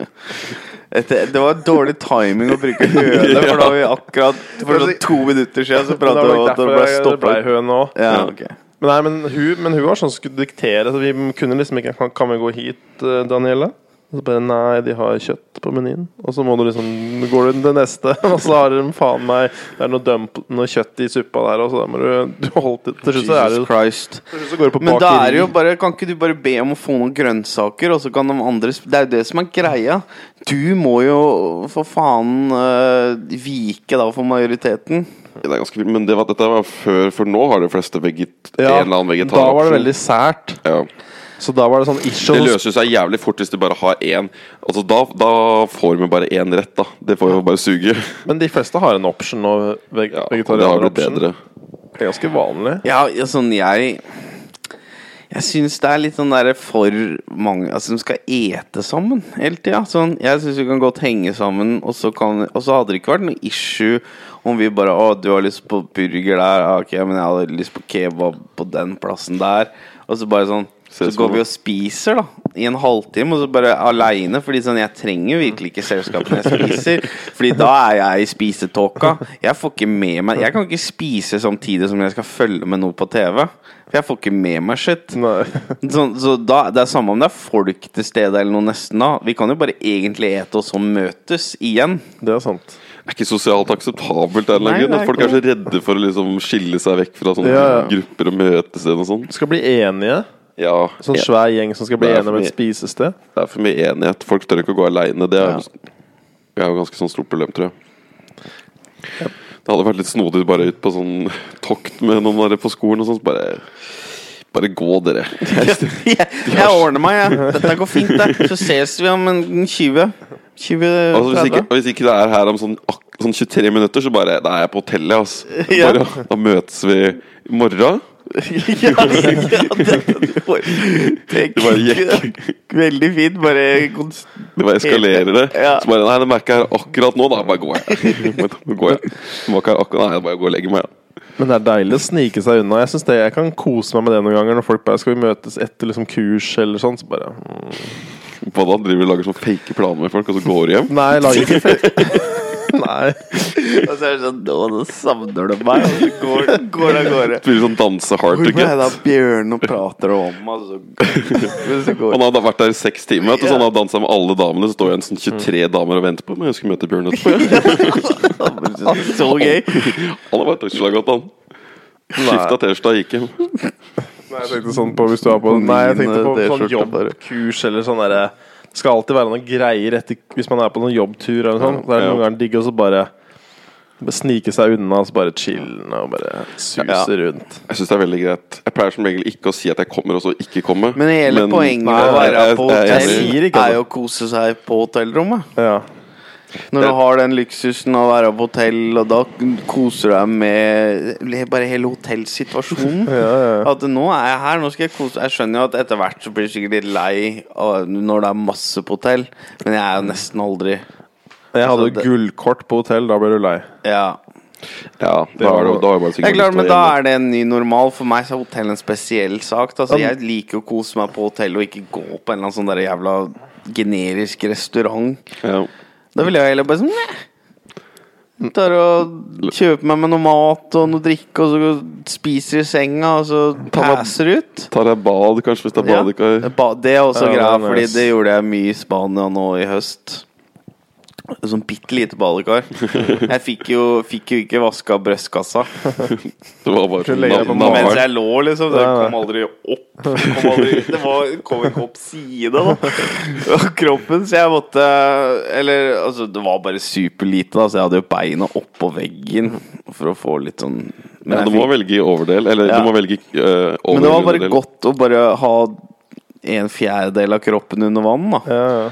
B: Et- det var dårlig timing å bruke høne, for da var vi akkurat For sånn to minutter siden så pratet
A: Men
B: vi
A: det
B: om
A: var
B: at
A: nok derfor
B: det ble
A: jeg- det ble
B: stoppet.
A: høne òg.
B: Ja, ok
A: Men, nei, men, hun, men hun var sånn som skulle diktere. Så vi kunne liksom ikke Kan, kan vi gå hit, eh, Daniela? Og så bare Nei, de har kjøtt på menyen. Og så må du liksom går du til neste, og så har de faen meg Det er noe, dump, noe kjøtt i suppa der, og så da må du, du holde til Til slutt så, er det,
B: Jesus Christ.
A: til slutt så går du på
B: Men da er
A: bakeri.
B: det jo bare Kan ikke du bare be om å få noen grønnsaker, og så kan de andre sp- Det er jo det som er greia. Du må jo for faen eh, vike da for majoriteten.
C: Det er ganske vilt, men det var, dette var før, for nå har de fleste veget,
A: Ja,
C: en eller annen vegetar.
A: da var det veldig sært.
C: ja.
A: Så da var det sånn ish.
C: Det
A: og så-
C: løser seg jævlig fort hvis du bare har én. Altså, da, da får vi bare én rett, da. Det får jo bare suge.
A: Men de fleste har en option nå. Veg
C: Ja, og det har blitt
A: Vegetarianer-option.
C: bedre.
A: Det er ganske vanlig.
B: Ja, ja, sånn jeg Jeg syns det er litt sånn derre for mange Altså, de skal ete sammen hele tida. Sånn, jeg syns vi kan godt henge sammen, og så, kan, og så hadde det ikke vært noe issue om vi bare Å, du har lyst på burger der, ja, ok, men jeg hadde lyst på kebab på den plassen der. Og så bare sånn så
C: Ses
B: går
C: på-
B: vi og spiser da i en halvtime, og så bare aleine. Fordi sånn, jeg trenger virkelig ikke selskap når jeg spiser. Fordi da er jeg i spisetåka. Jeg får ikke med meg Jeg kan ikke spise samtidig som jeg skal følge med noe på TV. For jeg får ikke med meg shit.
A: Nei.
B: Så, så da, det er samme om det er folk til stede eller noe nesten da. Vi kan jo bare egentlig ete og så møtes igjen.
A: Det er sant.
C: Det er ikke sosialt akseptabelt. av en eller
B: Nei,
C: annen grunn.
B: det er
C: At folk
B: ikke
C: er så redde for å liksom skille seg vekk fra sånne
A: Ja, ja.
C: grupper og møtested og sånn.
A: Du skal bli enige.
C: Ja,
A: Sånn
C: det
A: svær gjeng som skal bli
C: Det er
A: enige om
C: for
A: et spisested.
C: er for mye enighet. Folk tør ikke å gå aleine. Det er jo, det er jo ganske sånn stort problem, tror jeg. Det hadde vært litt snodig bare ut på sånn tokt med noen der på skolen og sånn. så Bare, bare gå, dere.
B: Jeg, jeg ordner meg, jeg. Dette går fint, det. Så ses vi om en 20.
C: Altså, hvis,
B: 2030.
C: ikke, hvis ikke det er her om sånn, ak- sånn 23 minutter, så bare Da er jeg på hotellet, ass.
B: Ja.
C: Bare, da møtes vi i morgen.
B: ja, ja, det, det, var- det,
C: Det bare gikk.
B: Veldig fint. Bare kons-
C: Det bare eskalerer det.
B: Ja.
C: Så bare Nei, det merker jeg her akkurat nå, da bare går jeg. Men da går jeg. Det var ikke her akkurat, nei, jeg bare går og legger meg. Ja.
A: Men det er deilig å snike seg unna. Jeg synes det, jeg kan kose meg med det noen ganger når folk bare skal vi møtes etter liksom kurs eller sånn. Så bare mm.
C: Hva da? Driver du og lager sånne fake planer med folk, og så går du hjem?
A: Nei, jeg lager ikke fake. Nei.
B: Og så er det sånn Nå, nå savner du meg. Og så går går det av gårde.
C: Spiller sånn danse
B: Hvor
C: hard to
B: ble det
C: get.
B: av Bjørn og prater om meg, så går- men så går
C: Han hadde vært der i seks timer. Vet du, så han hadde dansa med alle damene. Så står igjen
B: Mm.
C: sånn 23 damer og venter på meg. Jeg skulle møte Bjørn etterpå. ja.
B: det Så gøy.
C: Han har vært taxilagot, han. Skifta T-skjorta, gikk hjem.
A: Nei, jeg tenkte sånn på hvis du har på Nei, jeg tenkte på
B: Mine
A: sånn
B: T-skjorter bare.
A: jobbkurs eller sånn derre Det skal alltid være noen greier etter, hvis man er på noen jobbtur eller noe sånt. Da er det
C: Ja.
A: noen ganger digg å så bare bare snike seg unna og så bare chille og bare suse
B: Ja.
A: rundt.
C: Jeg synes det er veldig greit. Jeg pleier som regel ikke å si at jeg kommer, og så ikke komme.
B: Men hele poenget med å
C: Nei,
B: være
C: jeg-
B: på
C: jeg- jeg-
A: jeg sier
B: hotell
A: ikke at-
B: er jo å kose seg på hotellrommet.
A: Ja.
B: Når
C: Det-
B: du har den luksusen av å være på hotell, og da koser du deg med bare hele hotellsituasjonen.
A: ja, ja.
B: At nå er jeg her, nå skal jeg kose Jeg skjønner jo at etter hvert så blir du sikkert litt lei av- når det er masse på hotell, men jeg er jo nesten aldri
A: Jeg hadde
B: Altså, det-
A: gullkort på hotell, da ble du lei.
B: Ja.
C: Ja, da er det jo da er det bare
B: Det er
C: sikkert
B: klart, men da er det en ny normal. For meg så er hotell en spesiell sak. Altså, jeg liker å kose meg på hotell og ikke gå på en eller annen sånn der jævla generisk restaurant.
C: ja.
B: Da ville jeg heller bare sånn Næh. Tar og kjøper meg med noe mat og noe drikke, og så spiser i senga, og så
C: meg-
B: passer ut.
C: Tar jeg bad, kanskje, hvis det er
B: Ja.
C: badekar?
B: Ba- Det er også
A: Ja, det er
B: greia,
A: nice.
B: fordi det gjorde jeg mye i Spania nå i høst. Sånn bitte lite badekar. Jeg fikk jo, fikk jo ikke vaska brystkassa
C: Det var bare
A: Du legger deg på
C: navlen.
B: mens jeg lå, liksom. Det
A: Ja, ja.
B: kom aldri opp. Kom aldri, det var, kom ikke opp side, da. av Kroppen. Så jeg måtte Eller altså, det var bare superlite, da, så jeg hadde jo beina oppå veggen for å få litt sånn
C: Men
B: jeg
C: du må velge i overdel, eller
B: Ja.
C: du må velge eh, over
B: Men det var bare
C: underdel.
B: godt å bare ha en fjerdedel av kroppen under vann, da.
A: Ja, ja.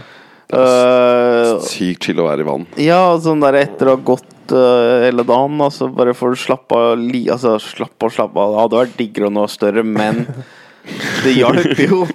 B: Eh,
C: Sykt chill å være i vann.
B: ja, og sånn der etter å ha gått eh, hele dagen, da, så bare får du slappe av li, Altså, slappe og slappe av. Det hadde vært diggere og noe større, men det hjalp jo.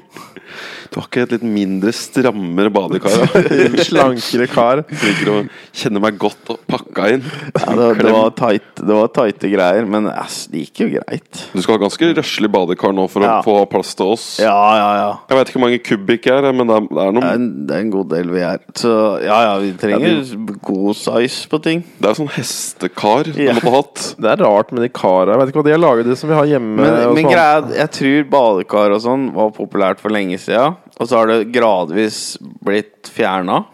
C: Du har ikke et litt mindre, strammere badekar? da?
A: En Slankere kar.
C: Jeg Liker å kjenne meg godt og pakka inn.
B: Ja, det, det, var tight, det var tighte greier, men ass, det gikk jo greit.
C: Du skal ha ganske røslig badekar nå for
B: Ja.
C: å få plass til oss.
B: Ja, ja, ja.
C: Jeg veit ikke hvor mange kubikk jeg er, men det er, det er
B: Det
C: noe
B: er, en, det er en god del vi er. Så ja, ja, vi trenger god size på ting.
C: Det er sånn hestekar
B: Ja.
C: du måtte ha hatt.
A: Det er rart med de kara. Jeg vet ikke hva de har laget, de som vi har hjemme. sånn.
B: Men,
A: hos
B: men
A: mamma.
B: greia, er at jeg tror badekar og sånn var populært for lenge siden Og så har det gradvis blitt fjerna.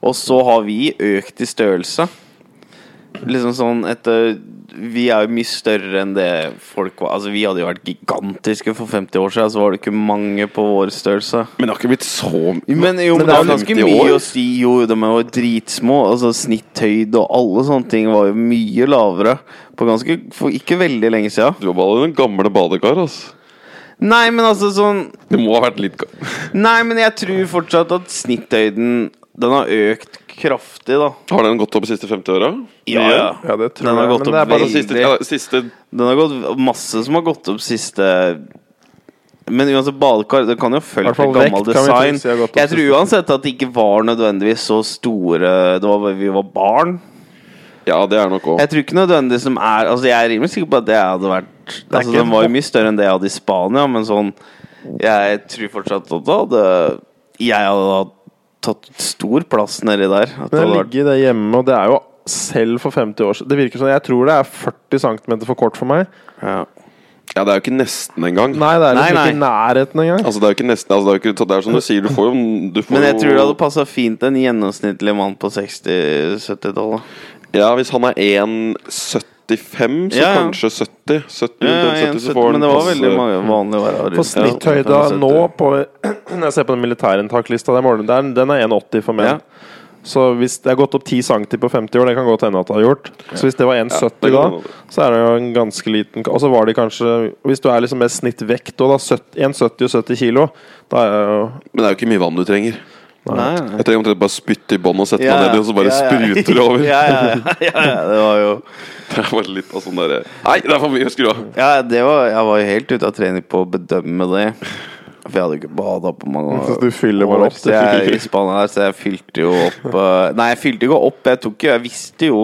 B: Og så har vi økt i størrelse. Liksom sånn etter Vi er jo mye større enn det folk var. Altså, vi hadde jo vært gigantiske for 50 år siden, så var det ikke mange på vår størrelse.
C: Men det har ikke blitt så
B: Men jo, men
A: Men
B: det
A: det
B: er
A: er
B: ganske
C: 50
B: mye
C: år.
B: å si. Jo, de er jo dritsmå. Altså Snitthøyde og alle sånne ting var jo mye lavere på ganske For ikke veldig lenge siden.
C: Du var bare den gamle badekar, altså.
B: Nei, men altså sånn
C: Det må ha vært litt ga-
B: Nei, men jeg tror fortsatt at snitthøyden Den har økt kraftig, da.
C: Har den gått opp de siste 50 åra?
B: Ja, ja.
A: Ja, det tror
B: Den har
A: jeg.
B: gått
A: Men
B: opp
A: det er bare
B: veldig.
C: Siste, ja, siste
B: Den har gått Masse som har gått opp siste men uansett, badekar Det kan
A: I
B: jo følge
A: hvert fall
B: til gammel
A: vekt kan vi trygt
B: design.
A: si har gått opp
B: Jeg tror
A: siste.
B: uansett at det ikke var nødvendigvis så store Det var bare vi var barn.
C: Ja, det er nok òg.
B: Jeg tror ikke nødvendigvis som er Altså jeg er rimelig sikker på at det hadde vært Altså
A: ikke
B: Den var jo
A: en-
B: mye større enn det jeg hadde i Spania, men sånn Jeg tror fortsatt at det hadde Jeg hadde tatt stor plass nedi der. At det
A: Men
B: hadde
A: jeg
B: vært,
A: ligger i det hjemme, og det er jo selv for 50 år siden Det virker som jeg tror det er 40 cm for kort for meg.
B: ja.
C: Ja, det er jo ikke nesten engang.
A: Nei, det er liksom
B: Nei,
A: ikke i nærheten engang.
C: Altså, det er jo ikke nesten altså, det, er jo ikke, så det er som du sier, du får jo du får
B: Men jeg tror det
C: jo-
B: hadde passa fint en gjennomsnittlig mann på 60-70-tallet.
C: Ja, hvis han er 1,75, så
B: Ja, ja.
C: kanskje 70.
B: Ja,
C: 70,
B: ja,
C: rundt 70 så får han
B: men det var
C: passe-
B: veldig mange vanlige å være rundt.
A: På snitthøyda
B: Ja,
A: nå på Når jeg ser på den militærinntaklista, den morgenen der, den er 1,80 for menn.
B: Ja.
A: Så hvis det er gått opp 10 cm på 50 år, det kan godt hende at det har gjort. Så hvis det var 1,70
C: Ja, det
A: da,
C: kan hende.
A: så er det jo en ganske liten Og så var det kanskje Hvis du er liksom med snittvekt og da 70 1,70 og 70 kilo, da er jeg jo
C: Men det er jo ikke mye vann du trenger.
B: Nei, nei.
C: Jeg trenger omtrent bare spytte i bånn og sette meg ned i, og så bare spruter det over.
B: ja, ja, ja, ja, ja, det var jo
C: Det var litt av sånn derre Nei, det er for mye å skru av!
B: ja, det var, Jeg var jo helt ute av trening på å bedømme det. For jeg hadde jo ikke bada på mange
A: Så du fyller bare opp,
B: Så jeg, i Spania her, så jeg fylte jo opp eh, Nei, jeg fylte ikke opp. Jeg tok jo Jeg visste jo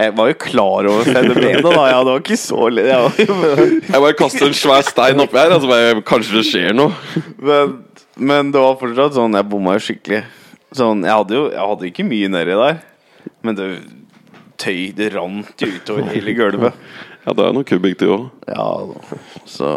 B: Jeg var jo klar over fenomenet, da. Ja, det var ikke så li- jeg var jo-
C: Jeg bare kaster en svær stein oppi her, og så bare Kanskje det skjer noe?
B: men, men det var fortsatt sånn Jeg bomma jo skikkelig. Sånn, Jeg hadde jo jeg hadde jo ikke mye nedi der, men det tøy Det rant jo utover hele gulvet.
C: Ja, det er noen kubikk til òg.
B: Ja, da. så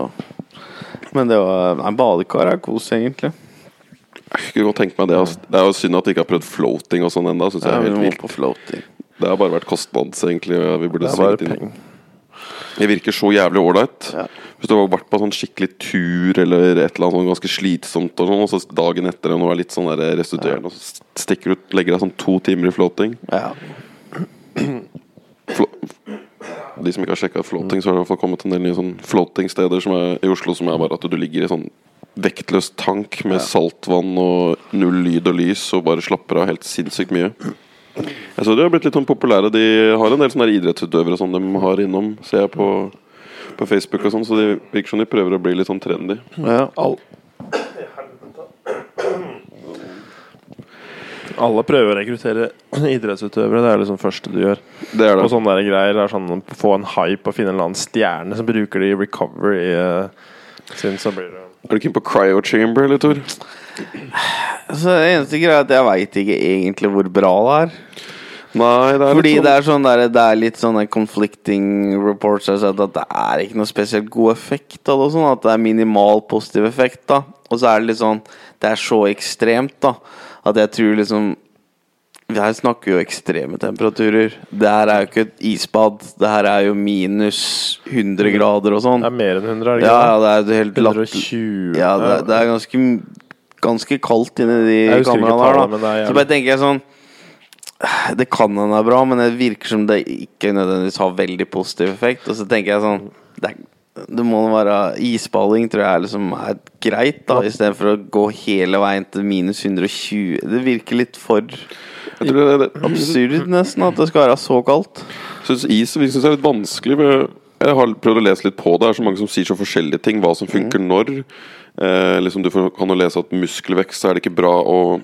B: Men det var Nei, badekar er kos, egentlig.
C: Jeg kunne godt tenke meg det. ass. Det er jo synd at de ikke har prøvd floating og sånn ennå. Synes jeg
B: Ja,
C: er
B: vi
C: helt
B: må
C: vilt.
B: på floating.
C: Det har bare vært kostnads, egentlig. og Vi burde
A: Det er bare
C: svingt inn.
A: penger.
C: Det virker så jævlig ålreit.
B: Ja.
C: Hvis du har vært på en sånn skikkelig tur eller et eller annet sånn ganske slitsomt, og sånn Og så dagen etter og nå er litt sånn der restituerende, og så stikker du ut, legger deg sånn to timer i floating.
B: Ja.
C: Flo de som ikke har sjekka floating, så har det i hvert fall kommet en del nye sånn floating-steder som er i Oslo som er bare at du ligger i sånn vektløs tank med saltvann og null lyd og lys og bare slapper av helt sinnssykt mye. Jeg så de har blitt litt sånn populære. De har en del sånne der idrettsutøvere som de har innom, ser jeg på, på Facebook og sånn, så det virker som de prøver å bli litt sånn trendy.
B: ja.
A: Al Alle prøver å rekruttere idrettsutøvere. Det er liksom første du gjør.
C: Det er
A: Og
C: det.
A: sånne der greier det er sånn Få en hype og finne en eller annen stjerne som bruker det i recovery. eh, Sin, så blir det
C: Er du keen på cryo chamber, eller, Tor?
B: Så det eneste greia er at jeg veit ikke egentlig hvor bra det er.
C: Nei, det er
B: Fordi
C: litt sånn
B: det er sånn der, det er litt sånne conflicting reports jeg har sett, at det er ikke noe spesielt god effekt av det. og Sånn, at det er minimal positiv effekt. da Og så er det litt sånn Det er så ekstremt, da, at jeg tror liksom vi Her snakker vi jo ekstreme temperaturer. Det her er jo ikke et isbad. Det her er jo minus 100 grader og sånn.
A: Det er mer enn 100, er det
B: Ja, ja,
A: ikke?
B: det er jo helt
A: det?
B: latt
A: 120
B: ja, det, det er ganske, ganske kaldt inni de
A: Jeg husker ikke
B: kameraene her.
A: tallet, men det
B: Da.
A: er jævlig.
B: Så bare tenker jeg sånn Det kan hende er bra, men det virker som det ikke nødvendigvis har veldig positiv effekt. Og så tenker jeg sånn Det, er, det må være isballing, tror jeg er liksom er greit, da, istedenfor å gå hele veien til minus 120. Det virker litt for
C: Jeg tror det, det,
B: absurd, nesten, at det skal være så kaldt.
C: synes is virker som er litt vanskelig. men Jeg har prøvd å lese litt på det. Det er så mange som sier så forskjellige ting. Hva som funker
A: Mm.
C: når. Eh, liksom du får, kan jo lese at muskelvekst så er det ikke bra å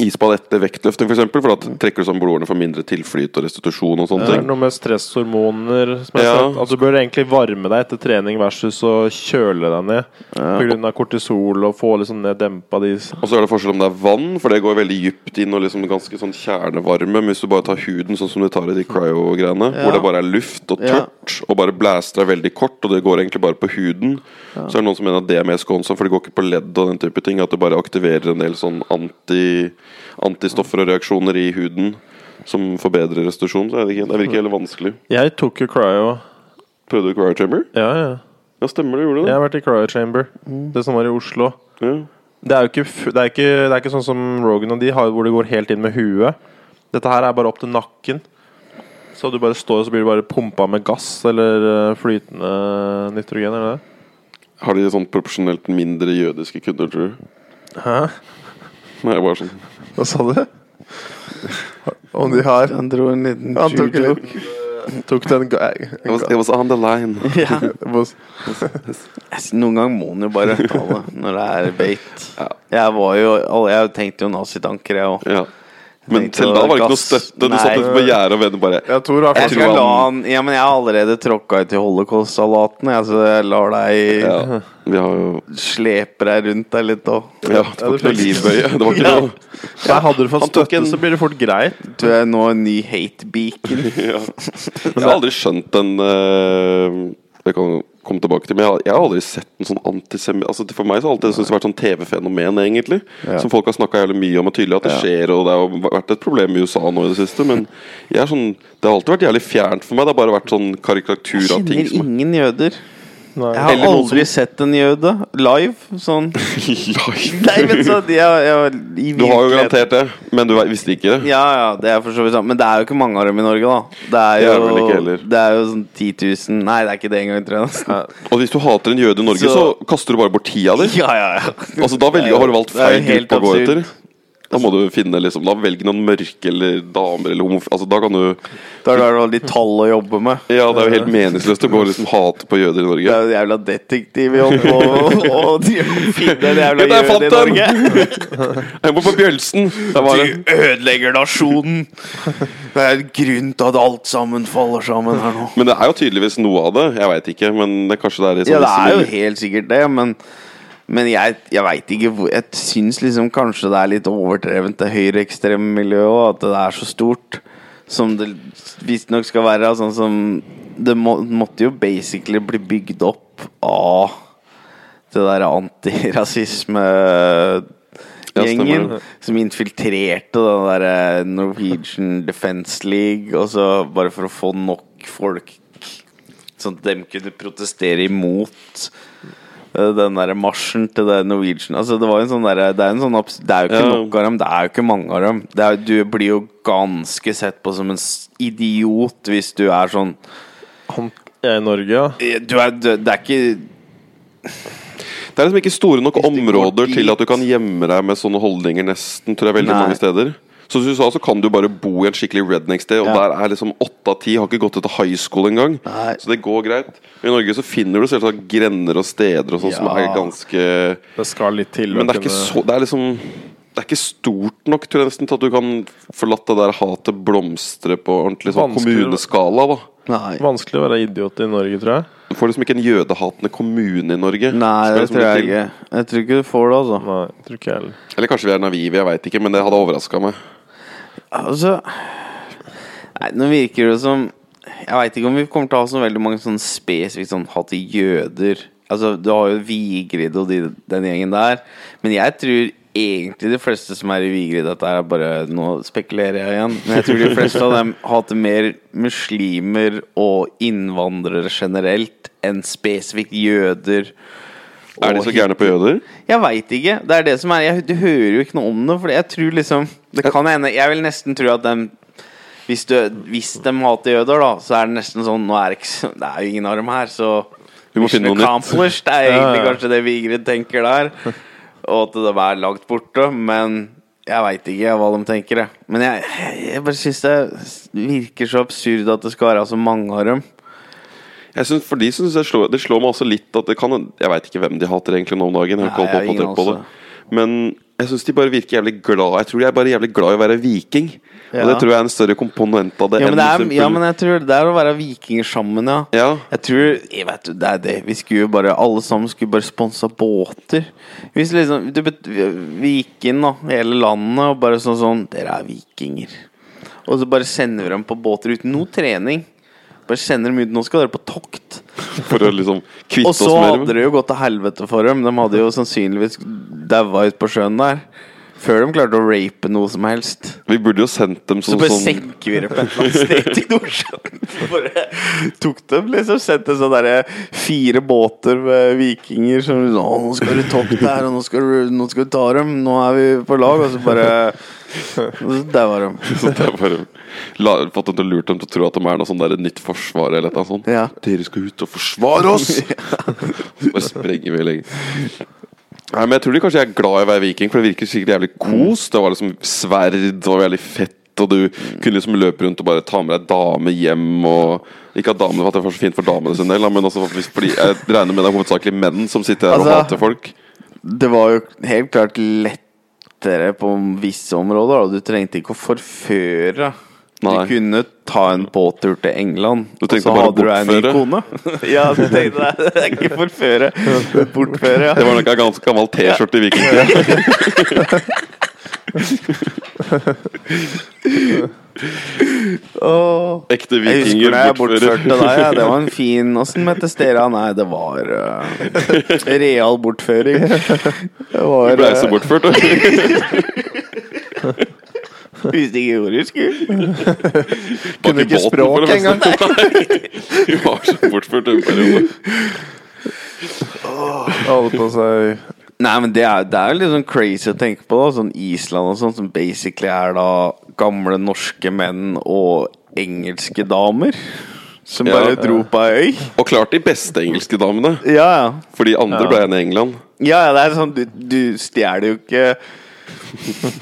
C: isbad etter vektløfting, f.eks. For, eksempel, for da trekker du sammen blodårene for mindre tilflyt og restitusjon og sånne
A: Det er
C: ting.
A: noe med stresshormoner som jeg
C: Ja.
A: har sett. At du bør egentlig varme deg etter trening versus å kjøle deg ned. Pga. kortisol og få liksom ned dempa de
C: Og så er det forskjell om det er vann, for det går veldig dypt inn og liksom ganske sånn kjernevarme. Men hvis du bare tar huden sånn som du tar i de cryo-greiene, hvor det bare er luft og
B: Ja.
C: tørt, og bare blæster deg veldig kort, og det går egentlig bare på huden, så er det noen som mener at det er mer skånsomt, for det går ikke på ledd og den type ting. At det bare aktiverer en del sånn anti, antistoffer og reaksjoner i huden som forbedrer restitusjon. Så er det, ikke, det virker heller vanskelig.
A: Jeg tok jo cryo.
C: Prøvde du cryo chamber?
A: Ja, ja.
C: Ja, stemmer det. Gjorde du
A: Jeg
C: det?
A: har vært i cryo chamber. Det som var i Oslo.
C: Ja.
A: Det er jo ikke, fu- det er ikke, det er ikke sånn som Rogan og de har, hvor det går helt inn med huet. Dette her er bare opp til nakken. Så du bare står, og så blir du bare pumpa med gass eller eh, flytende nitrogen, eller det?
C: Har de sånn proporsjonelt mindre jødiske kunder, tror du?
A: Hæ?
C: Nei, bare sånn.
A: Hva sa du? Om de har
B: Han dro en liten
A: Han tok
B: judo.
A: litt Tok den ga-
C: It was, it was on the line.
B: Ja.
A: was-
B: Altså, Noen ganger må en jo bare tale når det er beit.
C: Ja.
B: Jeg var jo alle- Jeg tenkte jo nazitanker, jeg òg.
C: Ja. Men
B: Tenkte
C: til
B: det
C: da
B: var
C: var det ikke noe
B: gass.
C: støtte. Du
B: Nei.
C: satt ute på gjerdet og ventet bare
A: Jeg tror det
B: Jeg
A: er
B: skal
C: tror
B: la
C: han-
B: han Ja, men jeg har allerede tråkka ut i holocaust-salaten, jeg, så jeg lar deg
C: ja, Vi har jo
B: slepe deg rundt der litt òg.
C: Ja, det var
A: Ja, det
C: ikke noe
A: fikk-
C: livbøye. Det var ikke
B: Ja.
C: noe
A: Nei, Hadde du fått
C: Han tok
A: støtte,
C: en-
A: så blir det fort greit.
B: Du er nå en ny hate beacon.
C: ja. Jeg har aldri skjønt den eh, Jeg kan komme tilbake til Men jeg har, jeg har aldri sett en sånn antisemi... Altså, for meg så har alltid det syntes vært sånn TV-fenomen, egentlig. Som folk har snakka jævlig mye om, og tydelig at det skjer, og det har jo vært et problem i USA nå i det siste, men jeg er sånn Det har alltid vært jævlig fjernt for meg. Det har bare vært sånn karikatur av ting
B: Kjenner
C: som
B: ingen jøder.
A: Nei.
B: Jeg har
C: Eller noen
B: aldri sett en jøde live sånn.
C: Ja,
B: Nei, men så jeg, jeg, i
C: Du har jo
B: virkeligheten-
C: garantert det, men du visste ikke det?
B: Ja, ja, det er for så vidt sant. Men det er jo ikke mange av dem i Norge, da. Det er
C: Det
B: jo,
C: er vel ikke heller.
B: det er jo sånn 10 000 Nei, det er ikke det engang, tror jeg.
C: Og hvis du hater en jøde i Norge, så,
B: Så-
C: kaster du bare bort tida di?
B: Ja, ja, ja.
C: Altså, da velger, har du valgt
B: Det er jo
C: feil
B: helt
C: gruppe å gå
B: absurd.
C: etter. Da må du finne liksom Da velg noen mørke eller damer eller homof... Altså, da kan du
B: Da er det de tall å jobbe med.
C: Ja, det er jo helt meningsløst å gå og liksom hate på jøder i
B: Det
C: Norge.
B: er jo jævla detektivjobb å å drive- finne en jævla
C: Gutta, jeg
B: jøde i
C: fant
B: Norge.
C: Jeg må på Bjølsen! Der var det.
B: Du ødelegger nasjonen! Det er en grunn til at alt sammen faller sammen her nå.
C: Men det er jo tydeligvis noe av det. Jeg veit ikke, men det, kanskje det er i sånn
B: Ja,
C: sånne
B: det er jo
C: sivile-
B: helt sikkert det, men men jeg, jeg veit ikke hvor Jeg syns liksom kanskje det er litt overdrevent, det høyreekstreme miljøet òg, at det er så stort som det visstnok skal være. altså, Sånn som Det må, måtte jo basically bli bygd opp av det derre
C: Ja, stemmer
B: antirasisme-gjengen
C: det.
B: som infiltrerte den derre Norwegian Defence League, og så bare for å få nok folk Sånn at dem kunne protestere imot eh, den derre marsjen til det Norwegian Altså, det var jo en sånn derre Det er en sånn abs Det er jo ikke
C: Ja.
B: nok av dem, det er jo ikke mange av dem. Det er, du blir jo ganske sett på som en s- idiot hvis du er sånn
A: Han er i Norge, ja.
B: eh, Du er du, Det er ikke
C: Det er liksom ikke store nok
B: Hvis det går
C: områder
B: dit.
C: til at du kan gjemme deg med sånne holdninger, nesten, tror jeg, veldig
B: Nei.
C: mange steder. Så som du sa, så kan du bare bo i en skikkelig redneck-sted, og
B: Ja.
C: der er liksom åtte av ti har ikke gått ut av high school engang.
B: Nei.
C: Så det går greit. Men I Norge så finner du selvsagt grender og steder og sånn som
B: Ja.
C: er ganske
A: Det skal litt til. å
C: Men det er ikke
A: kunne-
C: så Det er liksom det er ikke stort nok tror jeg nesten til at du kan forlatt det der hatet blomstre på ordentlig sånn
A: Vanskelig.
C: kommuneskala. da
B: Nei.
A: Vanskelig å være idiot i Norge, tror jeg.
C: Du får liksom ikke en jødehatende kommune i Norge.
B: Nei,
C: Skal
B: det
C: liksom
B: tror jeg
C: litt til.
B: ikke. Jeg tror ikke du får det, altså.
A: Nei, jeg tror ikke jeg heller.
C: Eller kanskje vi er naive, jeg veit ikke, men det hadde overraska meg.
B: Altså Nei, nå virker det som Jeg veit ikke om vi kommer til å ha så veldig mange sånn spesifikt sånn hat til jøder. Altså, du har jo Vigrid og de, den gjengen der. Men jeg tror egentlig de fleste som er i Vigrid Dette er bare Nå spekulerer jeg igjen. Men jeg tror de fleste av dem hater mer muslimer og innvandrere generelt enn spesifikt jøder.
C: Er de
B: og
C: så gærne på jøder?
B: Jeg veit ikke. Det er det som er jeg, Du hører jo ikke noe om det. For jeg tror liksom Det kan hende Jeg vil nesten tro at dem Hvis, du, hvis de hater jøder, da, så er det nesten sånn Nå er det, ikke, så- det er jo ingen av dem her, så
C: Vi må finne noe nytt.
B: accomplished er
A: Ja,
B: egentlig
A: ja.
B: kanskje det Vigrid tenker der. Og at de er langt borte. Men jeg veit ikke hva de tenker, jeg. Men jeg, jeg bare syns det virker så absurd at det skal være så mange av dem.
C: Jeg synes, for de synes jeg slår, Det slår meg også litt at det kan Jeg veit ikke hvem de hater egentlig nå om dagen. Jeg har ikke
B: Nei,
C: holdt
B: jeg har
C: på på å tenke på
B: ingen altså.
C: det. Men jeg syns de bare virker jævlig glad Jeg tror de er bare jævlig glad i å være viking.
B: Ja.
C: Og det tror jeg er en større komponent av det.
B: Ja,
C: enn
B: men, det er,
C: simpel-
B: ja, men jeg tror det er å være vikinger sammen, ja.
C: Ja.
B: Jeg tror jeg vet, jo, Det er det. Vi skulle jo bare Alle sammen skulle bare sponsa båter. Hvis liksom du, bet- Vi gikk inn, da, hele landet, og bare sånn sånn Dere er vikinger. Og så bare sender vi dem på båter uten noe trening. Bare sender dem ut. Nå skal dere på tokt.
C: For å liksom kvitte
B: Og
C: oss
B: så
C: med
B: hadde
C: dem.
B: det jo gått til helvete for dem. De hadde jo sannsynligvis daua ute på sjøen der. Før de klarte å rape noe som helst.
C: Vi burde jo sendt dem
B: Så
C: som
B: bare
C: sånn
B: senker vi det på et eller annet sted til Nordsjøen. Bare tok dem, liksom. Sendte sånn derre fire båter med vikinger som liksom, Å, nå skal du topp der, og nå skal du, nå skal du ta dem. Nå er vi på lag. Og så bare Og så daua de.
C: så det er bare la, Fått dem til å lure dem til å tro at de er noe sånn der nytt forsvar eller noe sånt.
B: Ja.
C: Dere skal ut og forsvare oss! Bare sprenger vi lenger. Nei, men Jeg tror de kanskje er glad i å være viking, for det virker sikkert jævlig kos. Det var liksom sverd, det var jævlig fett, og du kunne liksom løpe rundt og bare ta med deg dame hjem og Ikke at damene at det var så fint for damene sin del, da, men også hvis- fordi jeg regner med det er hovedsakelig menn som sitter her og
B: Altså-
C: hater folk.
B: Det var jo helt klart lettere på visse områder. Da. Du trengte ikke å forføre.
C: Nei.
B: Du kunne ta en båttur til England,
C: Du
B: og
C: tenkte
B: så
C: bare
B: hadde du ei ny
C: bortføre.
B: kone. ja, du tenkte deg Det er ikke forføre, men bortføre.
C: Det var nok en ganske gammel T-skjorte i vikingtida.
B: Åh.
C: Ekte
B: Jeg husker
C: vikinger.
B: da jeg bortførte
C: bortfører.
B: deg. Ja. Det var en fin Åssen het stedet? Nei, det var eh, real bortføring. Det
C: Du
B: var øh,
C: ble så bortført, du.
B: eh, Visste ikke ordet, husker
C: Kunne
A: ikke språk engang.
C: Du var så bortført en periode.
A: Alle på seg
B: Nei, men det er, det er jo litt sånn crazy å tenke på. da Sånn Island og sånn, som basically er da gamle norske menn og engelske damer. Som
C: Ja.
B: bare dro på ei øy.
C: Og klart de beste engelske damene.
B: Ja, ja.
C: For de andre ble igjen i England.
B: Ja, ja, det er sånn Du, du stjeler jo ikke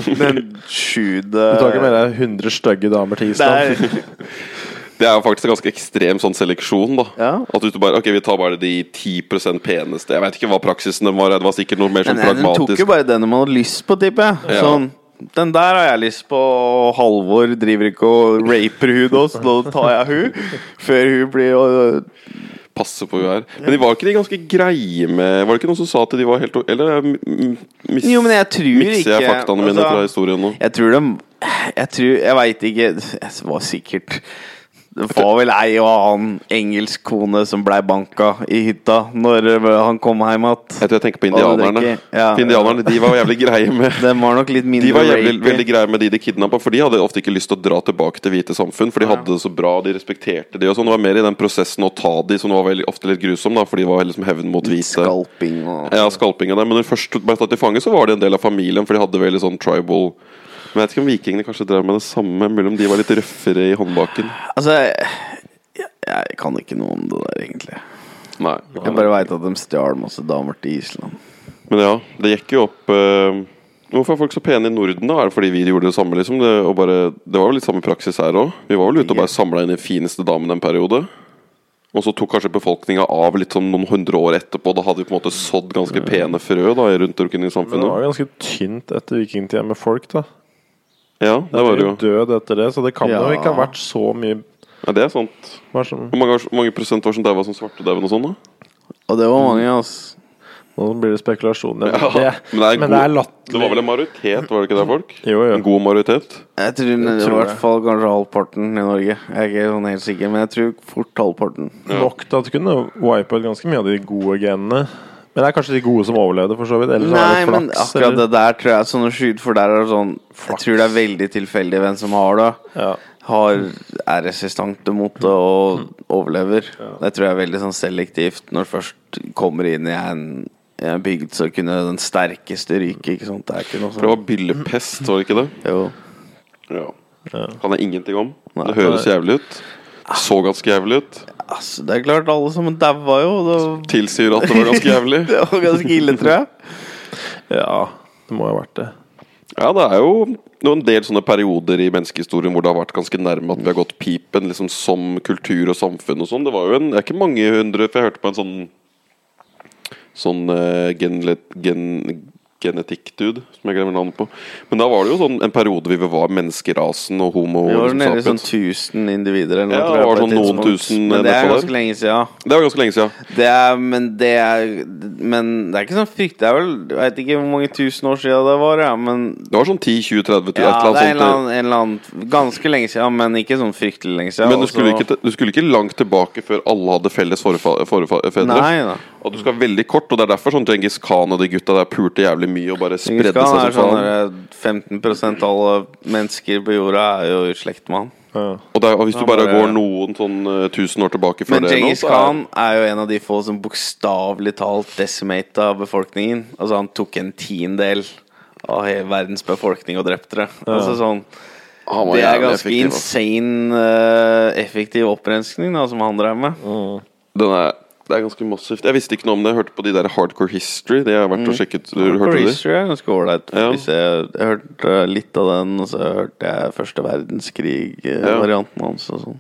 B: Den sjuende
A: Du tar ikke med deg 100 stygge damer til Island?
B: Det er-
C: Det er jo faktisk en ganske ekstrem sånn seleksjon, da.
B: Ja.
C: At du bare Ok, vi tar bare de 10 peneste. Jeg vet ikke hva praksisen den var. Det var sikkert noe mer
B: Nei,
C: sånn
B: nei, den eh, tok jo
C: pragmatisk.
B: bare den man hadde lyst på, tipper jeg.
C: Ja.
B: Sånn, den der har jeg lyst på, og Halvor driver ikke og raper hun nå, så nå tar jeg hun Før hun blir øh,
C: Passe på hun her. Men de var ikke de ganske greie med Var det ikke noen som sa at de var helt Eller mm, mis,
B: Jo, men jeg tror
C: mikser
B: ikke
C: jeg faktaene mine
B: altså,
C: fra historien nå?
B: Jeg tror dem Jeg tror Jeg veit ikke Jeg var sikkert det var vel ei og annen engelsk kone som blei banka i hytta når eh, han kom hjem igjen.
C: Jeg tror jeg tenker på
B: Og
C: indianerne.
B: drikke, ja.
C: For indianerne, De var jævlig greie med
B: Den var nok litt mindre
C: De var jævlig,
B: rapey.
C: veldig greie med de de kidnappa, for de hadde ofte ikke lyst til å dra tilbake til hvite samfunn. For de hadde det så bra, de respekterte de og sånn. Det var mer i den prosessen å ta de som var veldig, ofte litt grusom, da, for de var liksom hevn mot hvite.
B: Skalping og
C: Ja, skalping av dem. Men når de først ble tatt til fange, så var de en del av familien, for de hadde veldig sånn tribal Men jeg vet ikke om vikingene kanskje drev med det samme, mulig om de var litt røffere i håndbaken.
B: Altså jeg, jeg kan ikke noe om det der, egentlig.
C: Nei.
B: Jeg bare veit at de stjal masse damer til Island.
C: Men ja, det gikk jo opp eh, Hvorfor er folk så pene i Norden, da? Er det fordi vi gjorde det samme, liksom? Det, og bare, det var jo litt samme praksis her òg. Vi var vel ute og bare samla inn de fineste damene en periode. Og så tok kanskje befolkninga av litt sånn noen hundre år etterpå. Da hadde vi på en måte sådd ganske pene frø da rundt omkring i
A: Men det
C: samfunnet.
A: var ganske tynt etter vikingtida med folk, da.
C: Ja, det var det jo.
A: død etter det, så det kan
B: Ja.
A: jo ikke ha vært så mye
C: Ja, det er sant.
A: Hva er det som-
C: Hvor mange, hvor mange prosent var som daua som svartedauden og sånn, da?
B: Og det var mange, altså.
A: Nå blir det spekulasjon. Ja.
C: Ja, men det er,
A: men
C: god,
A: det er latterlig.
C: Det var vel en majoritet, var det ikke det, folk?
A: Jo, jo.
C: En god majoritet?
B: Jeg tror,
A: tror
B: det var i
A: jeg.
B: hvert fall kanskje halvparten i Norge. Jeg er ikke sånn helt sikker, men jeg tror fort halvparten.
A: Nok til at du kunne wipe ut ganske mye av de gode genene. Men det er kanskje de gode som overlevde, for så vidt. Eller så er
B: Nei,
A: det
B: men
A: flaks.
B: akkurat
A: eller-
B: det der tror jeg er sånn å skyte, for der er det sånn Jeg tror det er veldig tilfeldig hvem som har det.
A: Ja.
B: Har, er resistente mot det og overlever. Det tror jeg er veldig sånn selektivt når det først kommer inn i en, i en bygd, så kunne den sterkeste ryke, ikke sant. Det er ikke noe
C: For det
B: sånn.
C: var byllepest, var det ikke det?
B: Jo.
C: Ja. Kan jeg ingenting om.
B: Nei.
C: Det høres jævlig ut. Så ganske jævlig ut.
B: Altså, det er klart, alle sammen daua jo. Det var,
C: Tilsier at det var ganske jævlig.
B: det var ganske ille, tror jeg.
A: ja, det må ha vært det.
C: Ja, det er jo noen del sånne perioder i menneskehistorien hvor det har vært ganske nærme at vi har gått pipen liksom som kultur og samfunn og sånn. Det var jo en, det er ikke mange hundre, for jeg hørte på en sånn sånn eh, genle, gen, genetikkdude, som jeg glemmer navnet på. Men da var det jo sånn en periode hvor vi var menneskerasen og homo.
B: Vi var
C: liksom,
B: nede i sånn
C: sapiens.
B: 1000 individer eller noe.
C: Ja,
B: tror
C: det
B: jeg,
C: var
B: på et
C: sånn noen
B: tidspunkt.
C: tusen
B: Men det er
C: nedpå der.
B: ganske lenge siden.
C: Det var ganske lenge siden.
B: Det er, men det er Men det er ikke sånn frykt. Det er vel Jeg vet ikke hvor mange tusen år siden det var, ja, men
C: Det var sånn 10-20-30
B: ja,
C: et
B: det er en eller,
C: eller annet sånt.
B: annen, en eller annen Ganske lenge siden, men ikke sånn fryktelig lenge siden. altså.
C: Men du
B: og
C: skulle,
B: så-
C: ikke, te- du skulle ikke langt tilbake før alle hadde felles forfa- forfa- fedre.
B: Nei da.
C: Og du skal veldig kort, og det er derfor sånn Djengis Khan og de gutta der pulte jævlig mye og bare spredde
B: Genghis
C: seg
B: Khan er
C: som
B: sånn
C: faen.
B: der, 15 av alle mennesker på jorda er jo i slekt med han.
A: Ja.
C: Og, det er, og hvis
B: Han
C: du bare
B: bare-
C: går noen sånn eh, tusen år tilbake før
B: Men
C: det nå,
B: Djengis
C: så er
B: Khan er jo en av de få som bokstavelig talt decimata befolkningen. Altså han tok en tiendedel av hele verdens befolkning og drepte det. Altså sånn
C: han var
B: Det er
C: jævlig
B: ganske
C: effektiv, altså. ass.
B: insane eh, effektiv opprenskning da, som han drev med.
C: Den er, det er ganske massivt. Jeg visste ikke noe om det. Jeg hørte på de der Hardcore History. Det har jeg vært
B: Mm.
C: og sjekket. Du hørte de?
B: Horatio er ganske ålreit.
C: Ja.
B: Hvis Jeg, jeg hørte litt av den, og så hørte jeg første
C: Ja.
B: verdenskrig-varianten hans. Og sånn.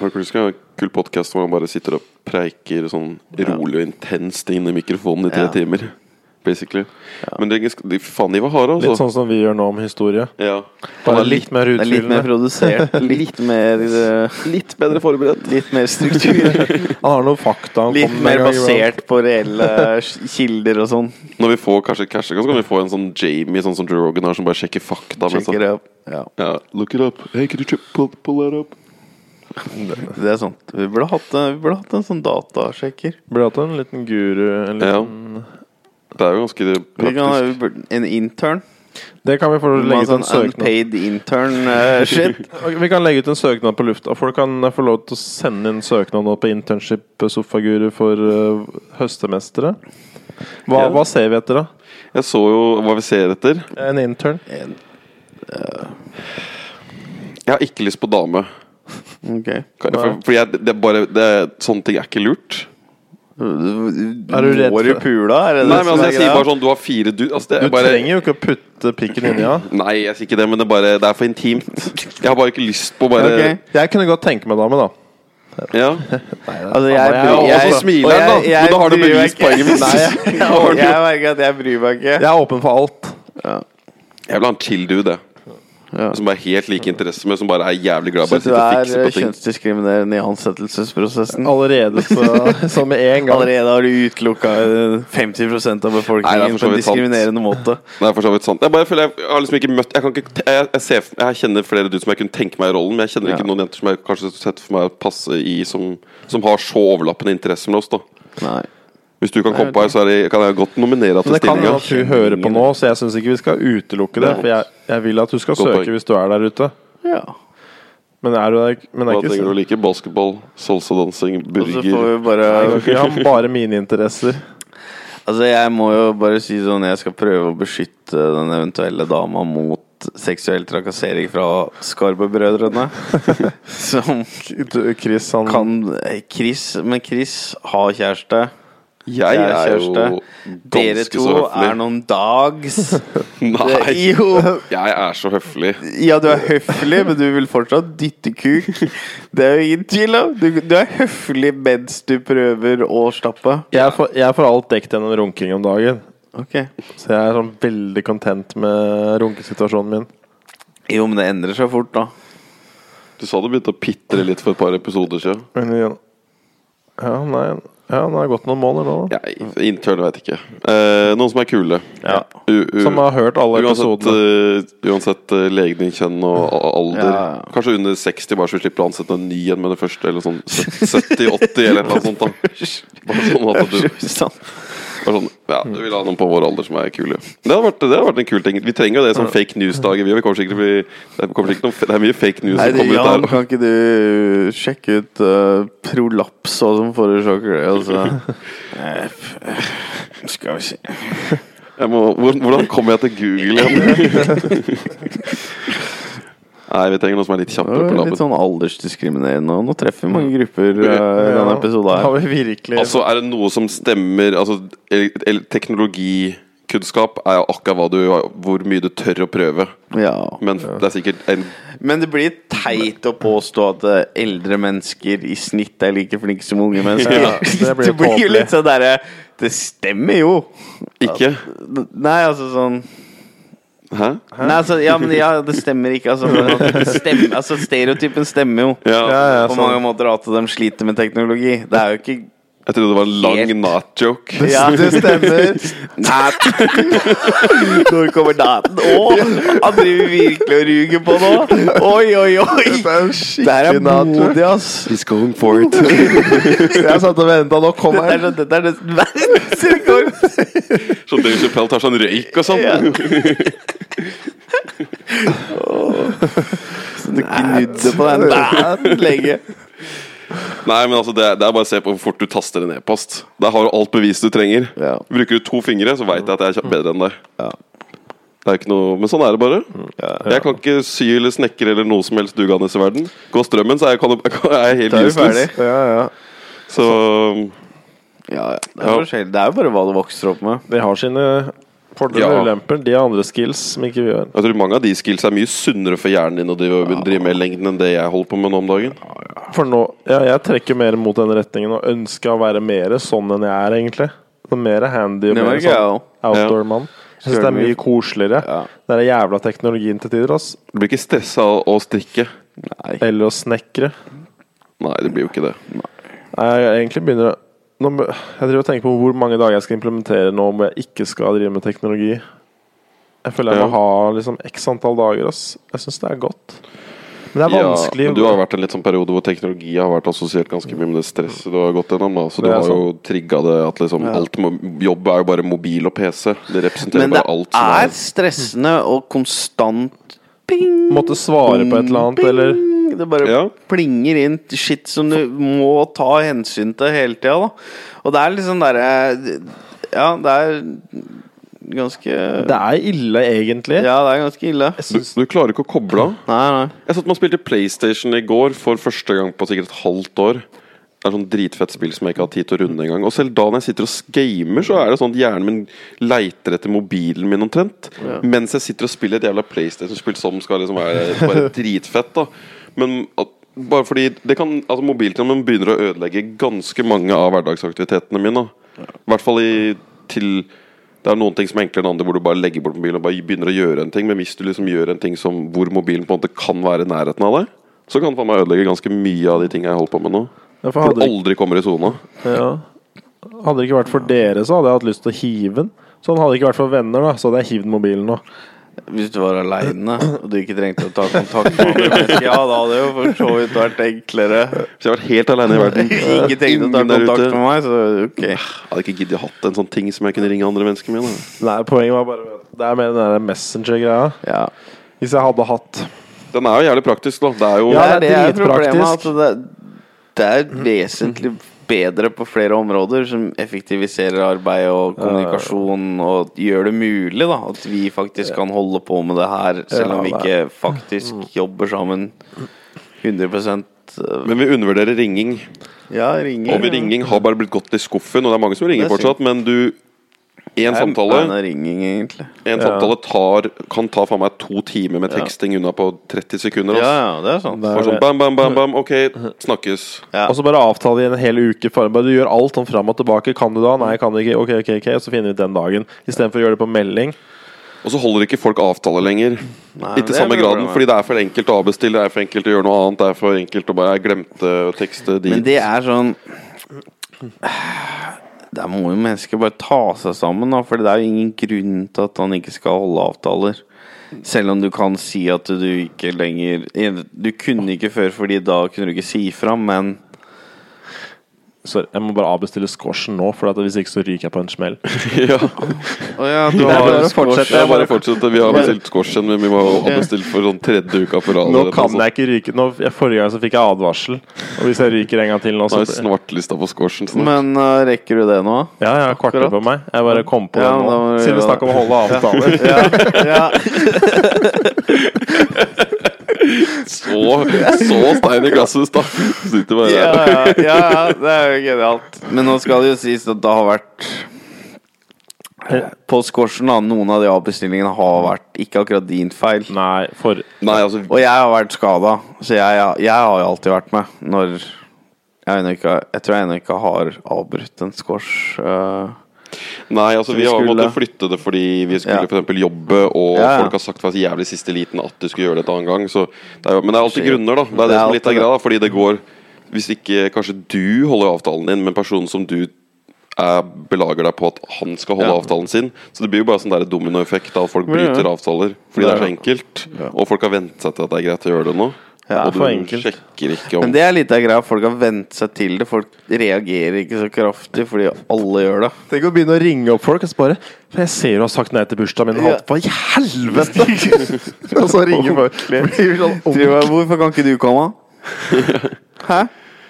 C: Hardcore History er en kul podkast hvor man bare sitter og preiker sånn rolig og intenst inn i mikrofonen i tre
B: Ja.
C: timer. Basically. Men Djengis de, Faen, de var harde, altså.
A: Litt sånn som vi gjør nå om historie.
C: Ja.
A: Bare litt mer
B: Det er litt mer
A: utfyllende.
B: produsert, litt mer eh,
C: Litt bedre forberedt.
B: Litt mer struktur.
A: Han har noen fakta. Han
B: Litt
A: kommer med
B: mer
A: en gang iblant.
B: basert på reelle kilder og sånn.
C: Når vi får kanskje cash, så kan vi få en sånn Jamie sånn som Joe Rogan har, som bare sjekker fakta. mens han-
B: Sjekker det opp. Ja,
C: ja, look it up. Hey, could you check- pull, pull that up?
B: det er sant. Vi burde hatt, vi burde hatt en sånn datasjekker.
A: Burde hatt en liten guru. En liten,
C: Det er jo ganske
B: Vi kan ha
C: praktisk.
B: vi burde- en intern.
A: Det kan vi få
B: Vi må ha
A: legge ut en
B: sånn
A: søknad
B: unpaid intern eh, shit.
A: Ok, Vi kan legge ut en søknad på lufta. Folk kan eh, få lov til å sende inn søknad nå på internship eh, sofaguru for eh, høstemestere. Hva,
C: Ja.
A: hva ser vi etter, da?
C: Jeg så jo hva vi ser etter.
A: En intern?
B: En-
C: Jeg har ikke lyst på dame.
B: Ok.
C: Kan jeg- For, fordi jeg, det er bare det, er- Sånne ting er ikke lurt.
B: Er
A: du redd
B: Går i
A: for-
B: pula? Er det
C: Nei,
B: det
C: men
B: som
C: altså,
B: er
C: jeg sier
B: greia?
C: bare sånn Du har fire du... Altså, det
A: Du
C: er bare
A: trenger jo ikke å putte pikken inni, ja.
C: Nei, jeg sier ikke det, men det er, bare, det er for intimt. Jeg har bare ikke lyst på bare
B: Ok.
A: Jeg kunne godt tenke meg dame, da.
C: Ja. sånn-
B: Altså, jeg,
A: Ja,
B: bryr-
A: og
B: jeg,
A: så
C: smiler han, da.
B: og jeg- jeg
C: Men da har du
B: bryr meg
C: bevispoenget
B: ikke.
C: mitt.
B: Nei, jeg, jeg merker at jeg bryr meg ikke.
A: Jeg er åpen for alt.
C: Jeg vil ha en chill dude, jeg.
B: Ja.
C: Som er helt like interesser, men som bare er jævlig glad i
B: Så
C: bare å
B: du
C: sitte og
B: er
C: fikse
B: eh,
C: på ting.
B: kjønnsdiskriminerende i ansettelsesprosessen?
A: Allerede så, så med en gang.
B: Allerede har du utelukka eh, 50 av
C: Nei, det
B: befolkningen
C: er for så
B: på en
C: vidt sant.
B: diskriminerende måte.
C: Nei, for så vidt sant. Jeg bare føler jeg har liksom ikke møtt Jeg, kan ikke, te- jeg, jeg, ser, jeg kjenner flere dudes som jeg kunne tenke meg i rollen, men jeg kjenner
B: Ja.
C: ikke noen jenter som jeg kanskje setter for meg å passe i, som, som har så overlappende interesser med oss, da.
B: Nei.
C: Hvis du kan komme på her, så er det, kan jeg godt nominere
A: Men
C: til
A: det kan
C: stillinga.
A: hende at hun hører på nå, så jeg syns ikke vi skal utelukke det. For jeg, jeg vil at du skal
C: Godt poeng.
A: søke hvis du er der ute.
B: Ja.
A: Men er du der men det
C: Hva
A: er
C: tenker du
A: ikke sånn-
C: å like? Basketball, salsadansing,
B: Og så får
C: burger
B: vi bare
A: Vi har bare mine interesser.
B: Altså, jeg må jo bare si sånn Jeg skal prøve å beskytte den eventuelle dama mot seksuell trakassering fra Skarbe-brødrene. Som
A: Du, Chris, han
B: kan eh, Chris Men Chris har kjæreste. Jeg
C: Jeg
B: er
C: er jo
B: kjæreste. Dere
C: ganske
B: to
C: så høflig.
B: er noen dags.
C: Nei,
B: Det- Jo.
C: jeg er så høflig.
B: Ja, du er høflig, men du vil fortsatt dytte kuk. Det er jo ingen tvil om. Du, du er høflig mens du prøver å slappe.
A: Jeg får, jeg får alt dekket gjennom runking om dagen.
B: Ok
A: Så jeg er sånn veldig content med runkesituasjonen min.
B: Jo, men det endrer seg fort, da.
C: Du sa du begynte å pitre litt for et par episoder siden.
A: Men igjen Ja, nei Ja, det har gått noen måneder nå, da.
C: Jeg, intern vet ikke. Eh, noen som er kule.
A: Ja.
C: U u
A: Som har hørt alle
C: uansett
A: episodene.
C: eh, uansett eh, legen din, kjønn og a- alder.
B: Ja, ja.
C: Kanskje under 60, bare så vi slipper å ansette en ny en med det første. Eller sånn 70-80 eller noe sånt. da Bare sånn at du
B: Sant.
C: bare sånn, Ja, du vil ha noen på vår alder som er kule. Det hadde vært, det hadde vært en kul ting. Vi trenger jo det som fake news-dager. Vi, vi kommer sikkert til å bli det, kommer sikkert noen, fe- det er mye fake news
B: Nei,
C: som kommer
B: Jan,
C: ut der.
B: kan ikke du sjekke ut uh, prolaps og sånn som forårsaker det? Altså. Eh, f- eh, Skal vi se
C: Jeg må, hvor- hvordan kommer jeg til Google igjen? Nei, vi trenger noe som er litt
B: Det
C: kjappere
B: var
C: på labben.
B: Litt sånn aldersdiskriminerende. og Nå treffer vi mange grupper uh, i
A: Ja,
B: denne episoden her.
A: Har vi virkelig
C: Altså, er det noe som stemmer Altså, el- el- teknologikunnskap er jo akkurat hva du, hvor mye du tør å prøve.
B: Ja.
C: Men det er sikkert en
B: Men det blir teit å påstå at eh, eldre mennesker i snitt er like flinke som unge mennesker.
A: Ja,
B: det
A: det blir
B: blir, jo
A: tåpelig.
B: litt sånn derre Det stemmer jo!
C: Ikke?
B: Nei, altså sånn
C: Hæ?
B: Nei, altså, ja, men ja, det stemmer ikke. Altså, men at det stemmer, altså stereotypen stemmer jo.
C: Ja.
A: Ja, ja,
B: På
A: sånn.
B: mange måter at de sliter med teknologi. Det er jo ikke
C: Jeg trodde det var en lang
B: Helt.
C: not-joke.
B: Ja,
A: Det stemmer.
B: Nat. Når kommer naten? Å, han driver virkelig og ruger på nå! Oi, oi, oi!
A: er en
B: Det her er
A: skikkelig natur.
B: modig, ass.
C: He's going for it.
A: Jeg satt og venta, nå kom
B: Dette
A: jeg.
B: er, sånn- dette er nesten verdens rekord.
C: Så Dave Chappelle tar sånn røyk og sånn.
B: Ja.
C: Ja.
B: Du knudde på den nat lenge.
C: Nei, men altså, det, er- det er bare å se på hvor fort du taster en e-post. Der har du alt bevis du trenger.
B: Ja.
C: Bruker du to fingre, så veit jeg at jeg er kjapp- bedre enn deg.
B: Ja.
C: Det er ikke noe, Men sånn er det bare.
B: Mm.
C: Jeg kan ikke sy eller snekre eller noe som helst dugandes i verden. Går strømmen, så er jeg, kan, jeg er helt
B: Da er vi
C: useless.
B: ferdig.
A: Ja, ja.
C: Så
B: Ja, ja. Det, er forskjellig. det er jo bare hva du vokser opp med.
A: De har sine fordeler
C: Ja.
A: og ulemper. De har andre skills som ikke vi har.
C: jeg tror mange av de skills er mye sunnere for hjernen din å drive, drive med lengden enn det jeg holder på med nå om dagen.
A: For nå ja, Jeg trekker mer mot den retningen og ønsker å være mer sånn enn jeg er, egentlig. Så mer handy og
B: Det
A: mer
B: merker jeg
A: sånn
B: òg.
A: outdoor-mann. Jeg syns det er mye koseligere.
B: Ja.
A: Det er den jævla teknologien til tider, ass.
C: Du blir ikke stressa av å strikke.
B: Nei.
A: Eller å snekre.
C: Nei, det blir jo ikke det.
A: Nei, Jeg egentlig begynner å nå, må- Jeg driver og tenker på hvor mange dager jeg skal implementere nå hvor jeg ikke skal drive med teknologi. Jeg føler jeg
C: Ja.
A: må ha liksom x antall dager. Ass. Jeg syns det er godt. Men det er
C: Ja,
A: vanskelig.
C: men du har vært i en litt sånn periode hvor teknologi har vært assosiert ganske mye med det stresset du har gått gjennom. Da. Så du
A: Det er
C: har jo trigga det at liksom alt må- Jobb er jo bare mobil og PC. Det representerer
B: Men det
C: bare alt som
B: er
C: er
B: stressende og konstant ping,
A: Måtte svare på et eller annet,
B: ping.
A: eller
B: Det bare
C: Ja.
B: plinger inn shit som du må ta hensyn til hele tida, da. Og det er liksom derre Ja, det er ganske
A: Det er ille, egentlig.
B: Ja, det er ganske ille.
A: Jeg
C: du,
A: syns
C: du klarer ikke å koble av.
B: Nei, nei.
C: Jeg satt med og spilte PlayStation i går for første gang på sikkert et halvt år. Det er sånn dritfett spill som jeg ikke har tid til å runde engang. Og selv da når jeg sitter og gamer, så er det sånn at hjernen min leiter etter mobilen min omtrent. Mens jeg sitter og spiller et jævla PlayStation-spill som skal liksom være bare dritfett, da. Men at bare fordi det kan, altså Mobiltelefonen begynner å ødelegge ganske mange av hverdagsaktivitetene mine. da. I hvert fall i, til Det er noen ting som er enklere enn andre, hvor du bare legger bort mobilen og bare begynner å gjøre en ting. Men hvis du liksom gjør en ting som, hvor mobilen på en måte kan være i nærheten av deg, så kan det faen meg ødelegge ganske mye av de tingene jeg holder på med nå.
A: Ja, for
C: For du
A: hadde,
C: aldri kommer i sona.
A: ja. hadde det ikke vært for dere, så hadde jeg hatt lyst til å hive den. Sånn hadde det ikke vært for venner, da, så hadde jeg hivd mobilen nå.
B: Hvis du var aleine og du ikke trengte å ta kontakt med andre mennesker, ja, da hadde det jo for så vidt vært enklere.
C: Hvis jeg hadde vært helt alene i verden
B: Ikke trengte å ta
C: ingen der
B: kontakt
C: ute.
B: med meg, så ok.
C: Jeg hadde ikke giddet hatt en sånn ting som jeg kunne ringe andre mennesker med. Da.
A: Nei, poenget var bare Det er mer den der Messenger-greia.
B: Ja.
A: Hvis jeg hadde hatt
C: Den er jo jævlig praktisk, da. Det er jo
A: Ja,
B: det er det er
A: dritpraktisk.
B: problemet. At det, det er vesentlig bedre på flere områder som effektiviserer arbeid og kommunikasjon og gjør det mulig da, at vi faktisk kan holde på med det her, selv om vi
A: Ja,
B: ikke faktisk jobber sammen 100 øh,
C: Men vi undervurderer ringing.
B: Ja, ringer.
C: Og vi ringing har bare blitt gått i skuffen, og det er mange som ringer
B: Det er sykt.
C: fortsatt, men du En samtale
B: Det er ringing, egentlig.
C: En samtale tar, kan ta faen meg to timer med teksting unna på 30 sekunder.
B: Ja,
C: ass.
B: ja, det er sant.
A: Det er
C: Bare sånn bam, bam, bam, bam, ok, snakkes.
B: Ja.
A: Og så bare avtale i en hel uke. For, bare du gjør alt sånn fram og tilbake. Kan du da? Nei, kan du ikke. Ok, ok, ok. Og så finner vi ut den dagen. Istedenfor å gjøre det på melding.
C: Og så holder ikke folk avtale lenger.
B: Nei,
C: ikke
B: det
C: i samme
B: blir
C: graden,
B: bra.
C: fordi det er for enkelt å avbestille, det er for enkelt å gjøre noe annet, det er for enkelt å bare Jeg glemte å tekste dit.
B: Men det er sånn Der må jo mennesker bare ta seg sammen, da. For det er jo ingen grunn til at han ikke skal holde avtaler. Selv om du kan si at du ikke lenger Du kunne ikke før, fordi da kunne du ikke si fra, men
A: Sorry, jeg må bare avbestille squashen nå, for at hvis ikke så ryker jeg på en smell.
C: ja.
B: Å ja, du
A: er
B: har
A: bare å
B: squash.
A: fortsette.
C: Det er bare å fortsette. Vi har bestilt squash igjen, men vi må ha bestilt for sånn tredje uka på rad.
A: Nå kan jeg ikke ryke. Nå, jeg, forrige gang så fikk jeg advarsel. Og hvis jeg ryker en gang til nå,
C: Nå
A: så
C: er svartlista på squashen sånn snart.
B: Men øh, rekker du det nå?
A: Ja, jeg har kvarter på meg. Jeg bare kom på
B: Ja,
A: det
B: men da må
A: nå.
B: du
A: Siden vi
B: gjøre
A: snakker om å holde avtaler.
B: Ja, ja.
C: Så, så stein i glasset, Staff. Sitter bare
B: ja,
C: der.
B: ja, ja, ja, det er jo genialt. Men nå skal det jo sies at det har vært eh, På squashen, da. Noen av de avbestillingene har vært ikke akkurat din feil.
A: Nei, for
C: Nei, altså
B: Og jeg har vært skada, så jeg, jeg har jo alltid vært med når jeg, ennå ikke, jeg tror jeg ennå ikke har avbrutt en squash. øh.
C: Nei, altså vi
B: vi
C: har
B: skulle-
C: måttet flytte det fordi vi skulle
B: Ja.
C: for eksempel jobbe, og
B: Ja, ja.
C: folk har sagt fra så jævlig siste liten at du skulle gjøre dette en gang. Så det er jo, men det er alltid
B: Skjer.
C: grunner, da. Det
B: Det
C: er det
B: er
C: som er litt
B: alltid
C: av greia, da, fordi det går Hvis ikke kanskje du holder avtalen din, men personen som du er, belager deg på at han skal holde
B: Ja.
C: avtalen sin. Så det blir jo bare sånn der dominoeffekt av at folk
B: Ja, ja.
C: bryter avtaler. Fordi det er så enkelt. Og folk har vent seg til at det er greit å gjøre det nå.
B: Ja,
C: og du
A: for enkelt.
C: sjekker ikke om
B: Men det er litt av greia. Folk har vent seg til det. Folk reagerer ikke så kraftig fordi alle gjør det.
A: Tenk å begynne å ringe opp folk og så bare For jeg ser du har sagt nei til bursdagen min.
B: Ja.
A: Hva i helvete?! og så ringer folk. Blir sånn
B: Tror
A: ordentlig-
B: jeg, Hvorfor kan ikke du komme? Hæ?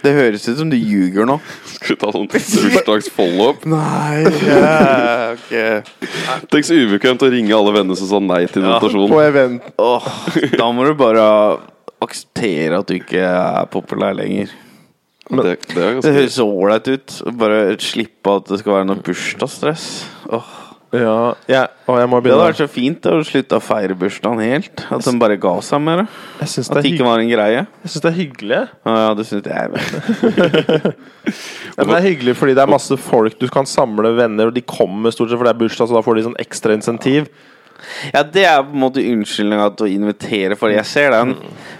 B: Det høres ut som du ljuger nå.
C: Skal vi ta sånn bursdags follow-up?
B: Nei, ja, ok
C: Tenk så ubekvemt å ringe alle vennene som sa nei til invitasjonen.
A: På event.
B: Åh, Da må du bare akseptere at du ikke er populær lenger.
C: det, det er
B: Det
C: ganske
B: høres så ålreit ut. Bare slippe at det skal være noe bursdagsstress. Åh,
A: Ja, jeg, og jeg må
B: Det hadde
A: begynne
B: vært så fint da, å slutte å feire bursdagen helt. At de bare ga seg med det.
A: Jeg syns det,
B: At det
A: er
B: ikke
A: hygg-
B: var en greie.
A: jeg synes det er hyggelig.
B: Å Ja, det synes jeg vel.
A: Ja, men det er hyggelig fordi det er masse folk. Du kan samle venner, og de kommer stort sett for det er bursdag, så da får de sånn ekstra insentiv.
B: Ja, det er på en måte unnskyldninga til å invitere for det. Jeg ser den.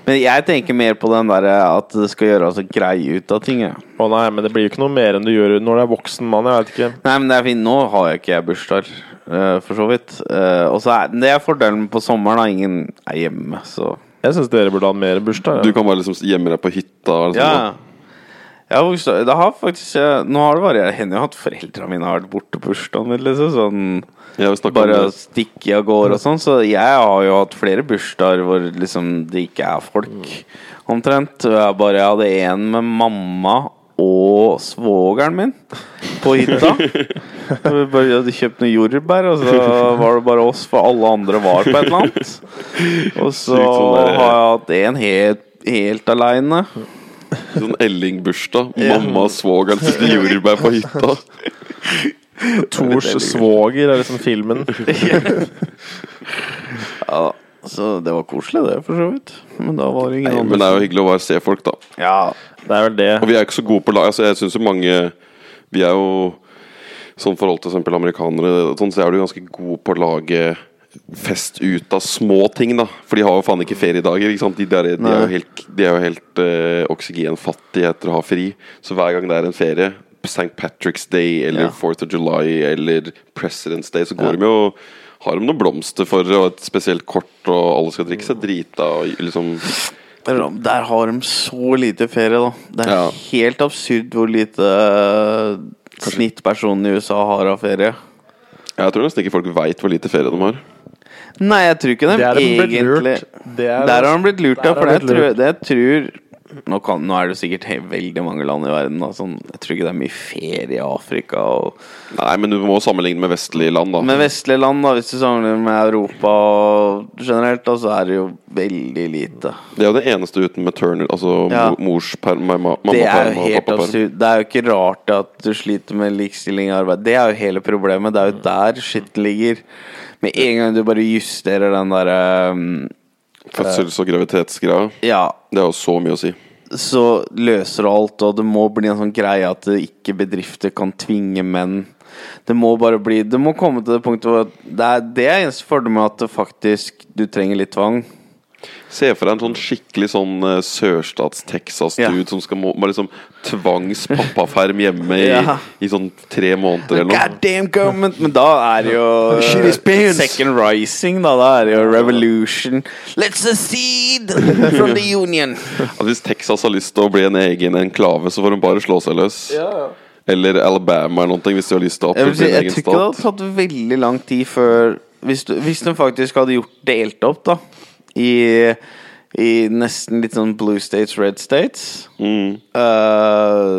B: Men jeg tenker mer på den derre at det skal gjøres en greie ut av ting. jeg.
A: Å nei, men det blir jo ikke noe mer enn du gjør når du er voksen mann. Jeg vet ikke.
B: Nei, men det er fint. Nå har jeg ikke jeg bursdag, eh, for så vidt. Eh, og så er det er fordelen på sommeren, da. Ingen er hjemme, så
A: Jeg syns dere burde ha mer bursdag.
C: Du
A: Ja.
C: kan bare liksom gjemme deg på hytta. Eller sånn,
B: Ja,
C: da.
B: ja. Jeg har vokst opp- Det har faktisk eh, Nå har det bare hendt at foreldrene mine har vært borte på bursdagen min, liksom. Sånn
C: Jeg vil snakke om
B: bare
C: det.
B: stikke av gårde og sånn. Så jeg har jo hatt flere bursdager hvor liksom det ikke er folk,
C: Mm.
B: omtrent. Og Jeg bare jeg hadde en med mamma og svogeren min på hytta. Vi bare hadde kjøpt noen jordbær, og så var det bare oss, for alle andre var på et eller annet. Og så
C: Sykt sånn
B: har
C: der-
B: jeg hatt en helt, helt aleine.
C: Sånn Elling-bursdag.
B: Ja.
C: Mamma og svogeren sitter og jordbær på hytta.
A: Tors svoger er liksom filmen.
B: Ja, så det var koselig, det, for så vidt. Men da var det ingen
C: Nei,
B: andre.
C: Men det er jo hyggelig å bare se folk, da.
B: Ja,
A: Det er vel det.
C: Og vi er jo ikke så gode på lag. Altså, jeg synes jo mange Vi er jo sånn forhold til eksempel amerikanere, sånn, så er du ganske god på å lage fest ut av små ting, da. For de har jo faen ikke feriedager. Ikke sant? De, der, de er jo helt, de er jo helt eh, oksygenfattige etter å ha fri. Så hver gang det er en ferie, St. Patrick's Day eller
B: Ja.
C: 4th of July eller President's Day, så går de jo har de noen blomster for og et spesielt kort, og alle skal drikke seg drita og liksom
B: der, der har de så lite ferie, da. Det er
C: Ja.
B: helt absurd hvor lite eh, snittpersonen i USA har av ferie.
C: Jeg tror nesten ikke folk veit hvor lite ferie de har.
B: Nei, jeg tror ikke dem
A: Det er de blitt
B: egentlig
A: lurt. Det er-
B: Der har han blitt lurt,
A: Der har
B: ja. For
A: han
B: jeg
A: blitt
B: tror,
A: lurt.
B: det jeg tror nå, kan, nå er det sikkert he- veldig mange land i verden. Da, sånn, jeg tror ikke det er mye ferie i Afrika. Og,
C: Nei, men du må sammenligne med vestlige land, da.
B: men vestlige land, da, hvis du sammenligner med Europa og generelt, da, så er det jo veldig lite.
C: Det er jo det eneste uten maternal, altså
B: Ja.
C: mo- mors perm, mamma, mamma
B: Det er
C: perm
B: jo
C: og
B: helt
C: pappa perm.
B: absurd. Det er jo ikke rart at du sliter med likestilling i arbeid. Det er jo hele problemet. Det er jo der skitten ligger. Med en gang du bare justerer den derre um,
C: Fødsels- og graviditetsgreia.
B: Ja,
C: Det er jo så mye å si.
B: så løser du alt, og det må bli en sånn greie at det ikke bedrifter kan tvinge menn. Det må bare bli Det må komme til det punktet hvor at det er, det er eneste fordelen med at det faktisk du trenger litt tvang.
C: Se for deg en sånn skikkelig sånn eh, sørstats-Texas-dude
B: Ja.
C: som skal må, må liksom tvangs pappaferm hjemme i,
B: Ja.
C: i sånn tre måneder eller noe.
B: God damn government! Men da er det jo Second Rising, da. Da er det jo revolution. Let's secede from the union!
C: At hvis Texas har lyst til å bli en egen enklave, så får de bare slå seg løs. Eller Alabama eller noe, hvis de har lyst til å
B: Jeg, vil
C: oppfylle
B: si,
C: sin
B: jeg tror
C: egen
B: ikke det
C: stat.
B: hadde tatt veldig lang tid før Hvis, du, hvis de faktisk hadde gjort delt opp, da, i, i nesten litt sånn blue states, red states
C: Mm.
B: eh,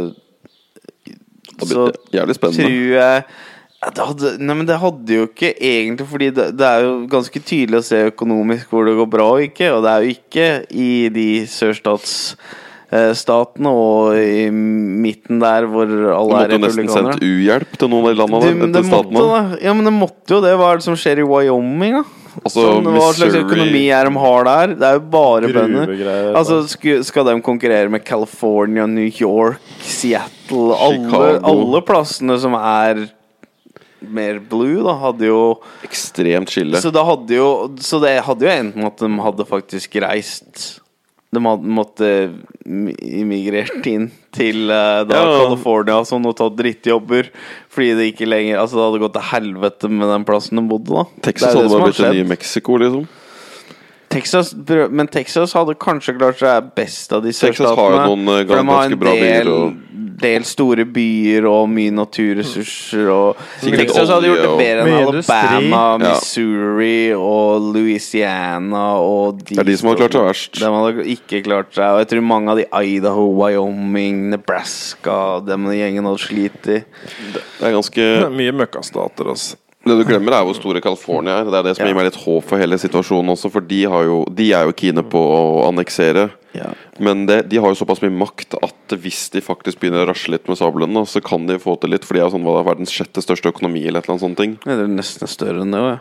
C: Det
B: Så
C: blir jævlig
B: tror
C: spennende.
B: jeg ja, det hadde, Nei, men det hadde jo ikke egentlig Fordi det, det er jo ganske tydelig å se økonomisk hvor det går bra og ikke, og det er jo ikke i de sørstatsstatene og i midten der hvor
C: Du
B: alle er
C: måtte jo nesten
B: republikanere.
C: sendt u-hjelp til noen av de landene.
B: Du, men det
C: etter
B: måtte,
C: statene.
B: da. Ja, men det måtte jo det. Hva er det som skjer i Wyoming, da?
C: Altså,
B: sånn, hva slags
C: Missouri-
B: økonomi er de har der? Det er jo bare bønder.
A: Gruvegreier,
B: Altså, sku, skal de konkurrere med California, New York, Seattle alle,
C: Chicago.
B: alle plassene som er mer blue, da, hadde jo
C: Ekstremt skille.
B: Så det hadde jo Så det hadde jo endt med at de hadde faktisk reist de hadde måtte mi- immigrert inn til eh, da
C: Ja.
B: California og sånn og tatt drittjobber. Fordi det ikke lenger Altså det hadde gått til helvete med den plassen de bodde, da. Det er
C: Texas
B: jo det
C: hadde
B: som
C: bare
B: har
C: blitt det
B: skjedd.
C: nye Mexico, liksom.
B: Texas, brø- men Texas hadde kanskje klart seg best av de
C: Texas har
B: sørstatene.
C: jo noen, eh,
B: for de har
C: ganske
B: en
C: bra byer
B: del,
C: og-
B: del store byer og mye naturressurser. Og
C: Sikkert
B: Texas hadde
C: olje
B: gjort det
C: og-
B: bedre enn
A: Mye industri.
B: Alabama,
C: Ja.
B: Missouri og Louisiana og de
C: Det er de som har klart seg verst.
B: De hadde ikke klart seg. Og jeg tror mange av de Idaho, Wyoming, Nebraska Den gjengen hadde slitt i.
C: Det er ganske
A: Det er mye møkkastater, altså.
C: Det du glemmer, er hvor store California er. Det er det som
B: Ja.
C: gir meg litt håp for hele situasjonen også, for de, har jo, de er jo kine på å anneksere.
B: Ja.
C: Men det, de har jo såpass mye makt at hvis de faktisk begynner å rasle litt med sablene, da, så kan de få til litt, for de er jo sånn, hva det er, verdens sjette største økonomi eller et eller annet sånt. ting.
B: Det er nesten større enn det òg, ja.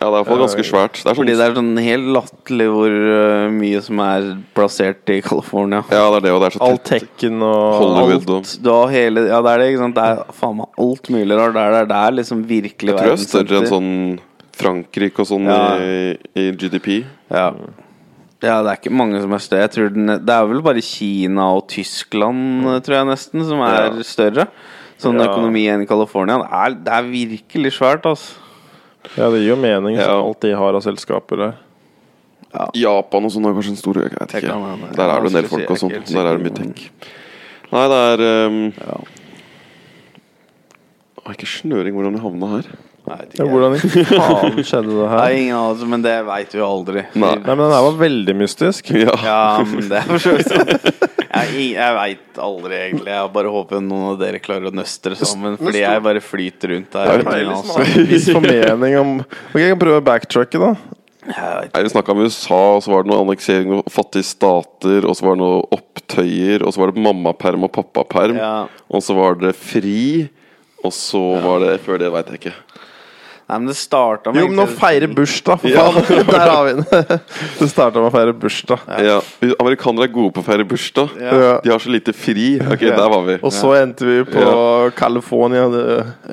C: Ja, det er i hvert fall ganske svært. Det er sånn,
B: Fordi det er sånn helt latterlig hvor øh, mye som er plassert i California.
C: Ja, det er det, og det er så
A: All
C: tett.
A: tekken og
C: Hollywood og
B: Alt, du har hele, ja, det er det, ikke sant? Det er faen meg alt mulig rart. Det er der det er liksom virkelig
C: Jeg tror det er større enn
B: verdenssenter.
C: sånn Frankrike og sånn
B: Ja.
C: i, i GDP.
B: Ja. ja, det er ikke mange som er større. Jeg tror den, det er vel bare Kina og Tyskland, øh, tror jeg nesten, som er
C: Ja.
B: større. Sånn
A: Ja.
B: økonomi enn California. Det er, det er virkelig svært, altså.
A: Ja, det gir jo mening, så
C: Ja.
A: alt de har av selskaper der.
C: Japan og sånn har kanskje en stor Jeg vet
B: Jeg
C: ikke.
B: kan være med.
C: Der er det en del
B: Vanskelig å si, jeg
C: folk
B: er
C: og sånn.
B: ikke helt
C: Der er det mye
B: sikker.
C: tenk. Nei, det er um, Å, Ikke snøring hvordan vi havna her.
B: Nei, det
A: Ja,
B: er-
A: hvordan i faen skjedde det
B: Det
A: her?
B: er ingen av oss, men det veit vi jo aldri.
C: Nei.
A: Nei, men den her var veldig mystisk.
C: Ja.
B: Ja, men det er for så vidt sant. Jeg, jeg veit aldri, egentlig. Jeg bare håper noen av dere klarer å nøstre sammen. Fordi jeg bare flyter rundt der.
C: Jeg vet
B: Men
C: ikke,
B: altså,
A: Viss formening om Ok, jeg kan prøve å backtracke, da.
B: Jeg
C: Nei, Vi snakka om USA, og så var det noe anneksering av fattige stater, og så var det noe opptøyer, og så var det mammaperm og pappaperm,
B: Ja.
C: og så var det fri, og så var det Før det veit jeg ikke.
B: Nei, men det starta
A: Jo, men å feire bursdag, for
C: Ja.
A: faen! Der har vi den! Det starta med å feire bursdag.
C: Ja. Amerikanere er gode på å feire bursdag.
A: Ja.
C: De har så lite fri. Ok,
A: Ja.
C: der var vi.
A: Og så endte vi på California, det